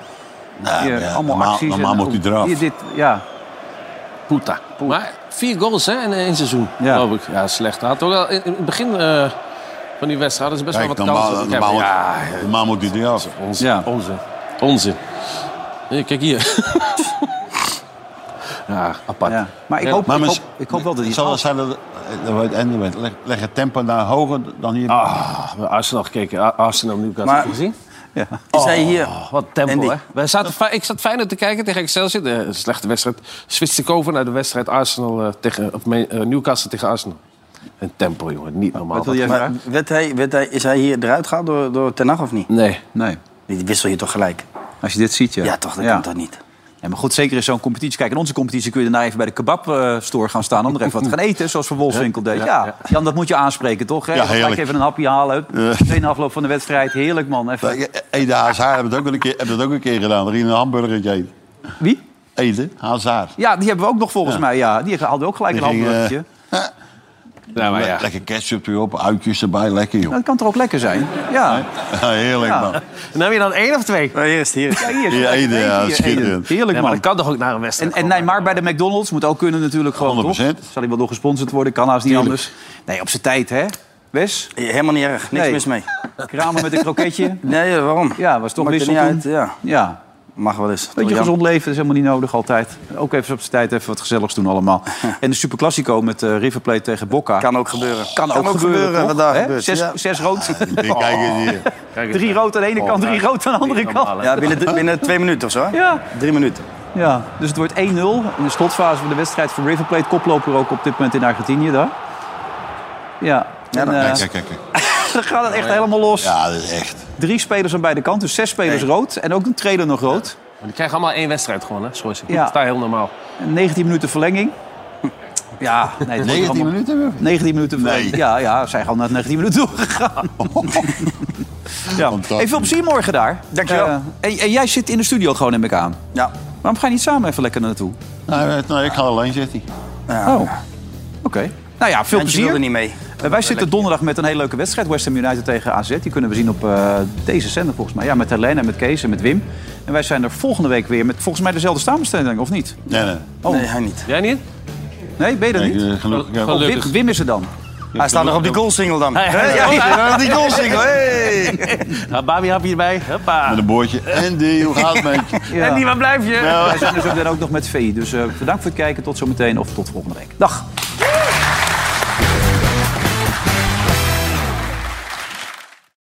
Speaker 3: Nou,
Speaker 2: Hier,
Speaker 3: ja,
Speaker 2: allemaal
Speaker 3: normaal-
Speaker 2: acties. en-
Speaker 3: normaal moet hij eraf.
Speaker 2: Hier, dit, ja.
Speaker 5: Puta. Maar vier goals hè, in één seizoen, geloof ik. Ja, slecht. Hij Had ook al in, in het begin eh, van die wedstrijd hadden ze best
Speaker 3: Kijk,
Speaker 5: wel wat kansen.
Speaker 3: normaal,
Speaker 5: op elkaar.
Speaker 3: normaal, moet-
Speaker 5: ja,
Speaker 3: normaal moet hij eraf.
Speaker 5: onzin. Onzin. Onzin. Hier, kijk hier. (laughs) ja, apart.
Speaker 2: Maar ik
Speaker 3: Ja.
Speaker 2: hoop,
Speaker 3: Maar
Speaker 2: ik
Speaker 3: mis-
Speaker 2: hoop, ik hoop wel dat hij het
Speaker 3: Zal
Speaker 2: haalt.
Speaker 3: dat zijn dat, dat- en- leg, leg het tempo naar hoger dan hier.
Speaker 5: Ah, we Arsenal gekeken. A- Arsenal nu
Speaker 3: Maar-
Speaker 5: gezien.
Speaker 2: Ja.
Speaker 5: Oh,
Speaker 4: Zij hier.
Speaker 5: Wat tempo,
Speaker 4: Andy.
Speaker 5: hè? Wij zaten, fi- ik zat Feyenoord te kijken tegen Excelsior. De een slechte wedstrijd. Switste ik over naar de wedstrijd Arsenal eh, tegen, of, me- eh, Newcastle tegen Arsenal. Een tempo, jongen. Niet normaal.
Speaker 4: Maar werd hij, werd hij, is hij hier eruit gehaald door, door Ten Hag of niet?
Speaker 5: Nee.
Speaker 2: Nee.
Speaker 4: Die wissel je toch gelijk?
Speaker 2: Als je dit ziet, ja.
Speaker 4: Ja, toch, dat kan toch niet?
Speaker 2: Ja, maar goed, zeker in zo'n competitie. Kijk, in onze competitie kun je daarna even bij de kebabstore gaan staan... om er even wat te gaan eten, zoals Van Wolfswinkel deed.
Speaker 3: Ja,
Speaker 2: Ja,
Speaker 3: ja.
Speaker 2: Jan, dat moet je aanspreken, toch? Hè?
Speaker 3: Ja,
Speaker 2: Dan ga ik
Speaker 3: heerlijk.
Speaker 2: even een hapje halen.
Speaker 3: Ja.
Speaker 2: Twee na afloop van de wedstrijd. Heerlijk, man. Even.
Speaker 3: Ede Hazard hebben dat ook wel een keer, hebben dat ook een keer gedaan. Er ging een hamburgertje eten.
Speaker 2: Wie?
Speaker 3: Ede Hazard.
Speaker 2: Ja, die hebben we ook nog volgens
Speaker 3: Ja.
Speaker 2: mij. Ja, die hadden ook gelijk
Speaker 3: Die
Speaker 2: een
Speaker 3: ging, eh,
Speaker 2: hamburgertje.
Speaker 5: Ja, Nou, maar ja.
Speaker 3: Lekker ketchup erop, uitjes erbij, lekker joh.
Speaker 2: Dat kan toch ook lekker zijn? Ja.
Speaker 3: Ja, heerlijk
Speaker 2: Ja.
Speaker 3: man.
Speaker 5: En heb je dan één of twee?
Speaker 4: hier is hier.
Speaker 2: Ja, hier is
Speaker 3: Die
Speaker 2: het.
Speaker 3: Ede, ja,
Speaker 2: Hier,
Speaker 3: schitterend.
Speaker 2: Heerlijk,
Speaker 5: Ja,
Speaker 2: man.
Speaker 5: maar dat kan toch ook naar een wedstrijd?
Speaker 2: En, en Neymar bij de McDonald's moet ook kunnen natuurlijk gewoon,
Speaker 3: 100%.
Speaker 2: toch? Zal hij wel door gesponsord worden? Kan haast niet anders. Nee, op zijn tijd, hè? Wes?
Speaker 4: Helemaal niet erg. Niks
Speaker 2: Nee.
Speaker 4: mis mee.
Speaker 2: Kramer met een kroketje.
Speaker 4: Nee, waarom?
Speaker 2: Ja, was toch
Speaker 4: Maakt er
Speaker 2: wissel
Speaker 4: niet
Speaker 2: toen.
Speaker 4: uit, ja.
Speaker 2: Ja.
Speaker 4: Mag wel eens.
Speaker 2: Beetje
Speaker 4: Toch, Jan?
Speaker 2: gezond leven is helemaal niet nodig altijd. Ook even op zijn tijd even wat gezelligs doen
Speaker 4: (laughs)
Speaker 2: allemaal. En de Superclásico met eh River Plate tegen Boca.
Speaker 4: Kan ook gebeuren.
Speaker 2: Kan, ook, gebeuren, toch?
Speaker 4: wat daar
Speaker 2: Hè?
Speaker 4: gebeurt.
Speaker 2: Zes,
Speaker 4: Ja.
Speaker 2: zes
Speaker 4: (laughs)
Speaker 2: rood.
Speaker 4: Kijk eens Oh, hier.
Speaker 2: (laughs) Drie rood aan de ene kant, drie rood aan de andere kant.
Speaker 4: Ja, binnen, binnen twee minuten of zo. hè?
Speaker 2: Ja.
Speaker 4: Drie minuten.
Speaker 2: Ja, dus het wordt 1-0. In de slotfase van de wedstrijd voor River Plate. Koploper ook op dit moment in Argentinië daar. Ja.
Speaker 3: Ja,
Speaker 2: en,
Speaker 3: dan-
Speaker 2: eh,
Speaker 3: kijk, kijk,
Speaker 2: (laughs)
Speaker 3: kijk,
Speaker 2: dan gaat het echt helemaal los.
Speaker 3: Ja, dat is echt.
Speaker 2: Drie spelers aan beide kanten. Dus zes spelers rood. En ook een trainer nog rood.
Speaker 5: Die krijgen allemaal één wedstrijd gewoon, hè? Sorry,
Speaker 2: Ja.
Speaker 5: Dat is daar heel normaal.
Speaker 2: 19 minuten
Speaker 5: (laughs)
Speaker 2: verlenging. Ja, nee, het wordt
Speaker 3: 19
Speaker 2: allemaal-
Speaker 3: minuten?
Speaker 2: 19 minuten verlenging. Ja, ja, we zijn gewoon naar 19 minuten
Speaker 5: (laughs)
Speaker 2: doorgegaan. ja. Hey, veel plezier morgen daar.
Speaker 4: Dankjewel.
Speaker 2: Eh, en, en jij zit in de studio gewoon, neem ik aan.
Speaker 4: Ja.
Speaker 2: Waarom ga je niet samen even lekker naartoe?
Speaker 3: Nou, eh, nou, ik ga alleen, zegt hij.
Speaker 2: Oh, oké. Nou ja, veel
Speaker 4: Eindje
Speaker 2: plezier.
Speaker 4: wilde niet mee.
Speaker 2: Eh, wij zitten donderdag met een hele leuke wedstrijd. West Ham United tegen AZ. Die kunnen we zien op eh, deze zender volgens mij. Ja, met Helena, met Kees en met Wim. En wij zijn er volgende week weer met volgens mij dezelfde samenstelling, of niet?
Speaker 3: Nee, nee.
Speaker 2: Oh.
Speaker 4: Nee, hij niet.
Speaker 5: Jij niet?
Speaker 2: Nee, ben je dat
Speaker 3: Nee,
Speaker 2: niet?
Speaker 3: eh, genoeg. ja.
Speaker 2: Oh, Wim, Wim is er dan.
Speaker 4: Hij staat nog op die goalsingel dan. Hè? Ja, hij staat nog op die goalsingel. (laughs) Hey.
Speaker 5: (laughs) Nou, Babi hap hierbij. Hoppa.
Speaker 3: Met een boordje. En die, hoe gaat het met je?
Speaker 2: (laughs)
Speaker 3: Nou.
Speaker 2: Ja.
Speaker 5: En die, waar blijf je?
Speaker 2: Wij zijn er zo meteen ook nog met VI. Dus eh, bedankt voor het kijken. Tot zometeen of tot volgende week. Dag.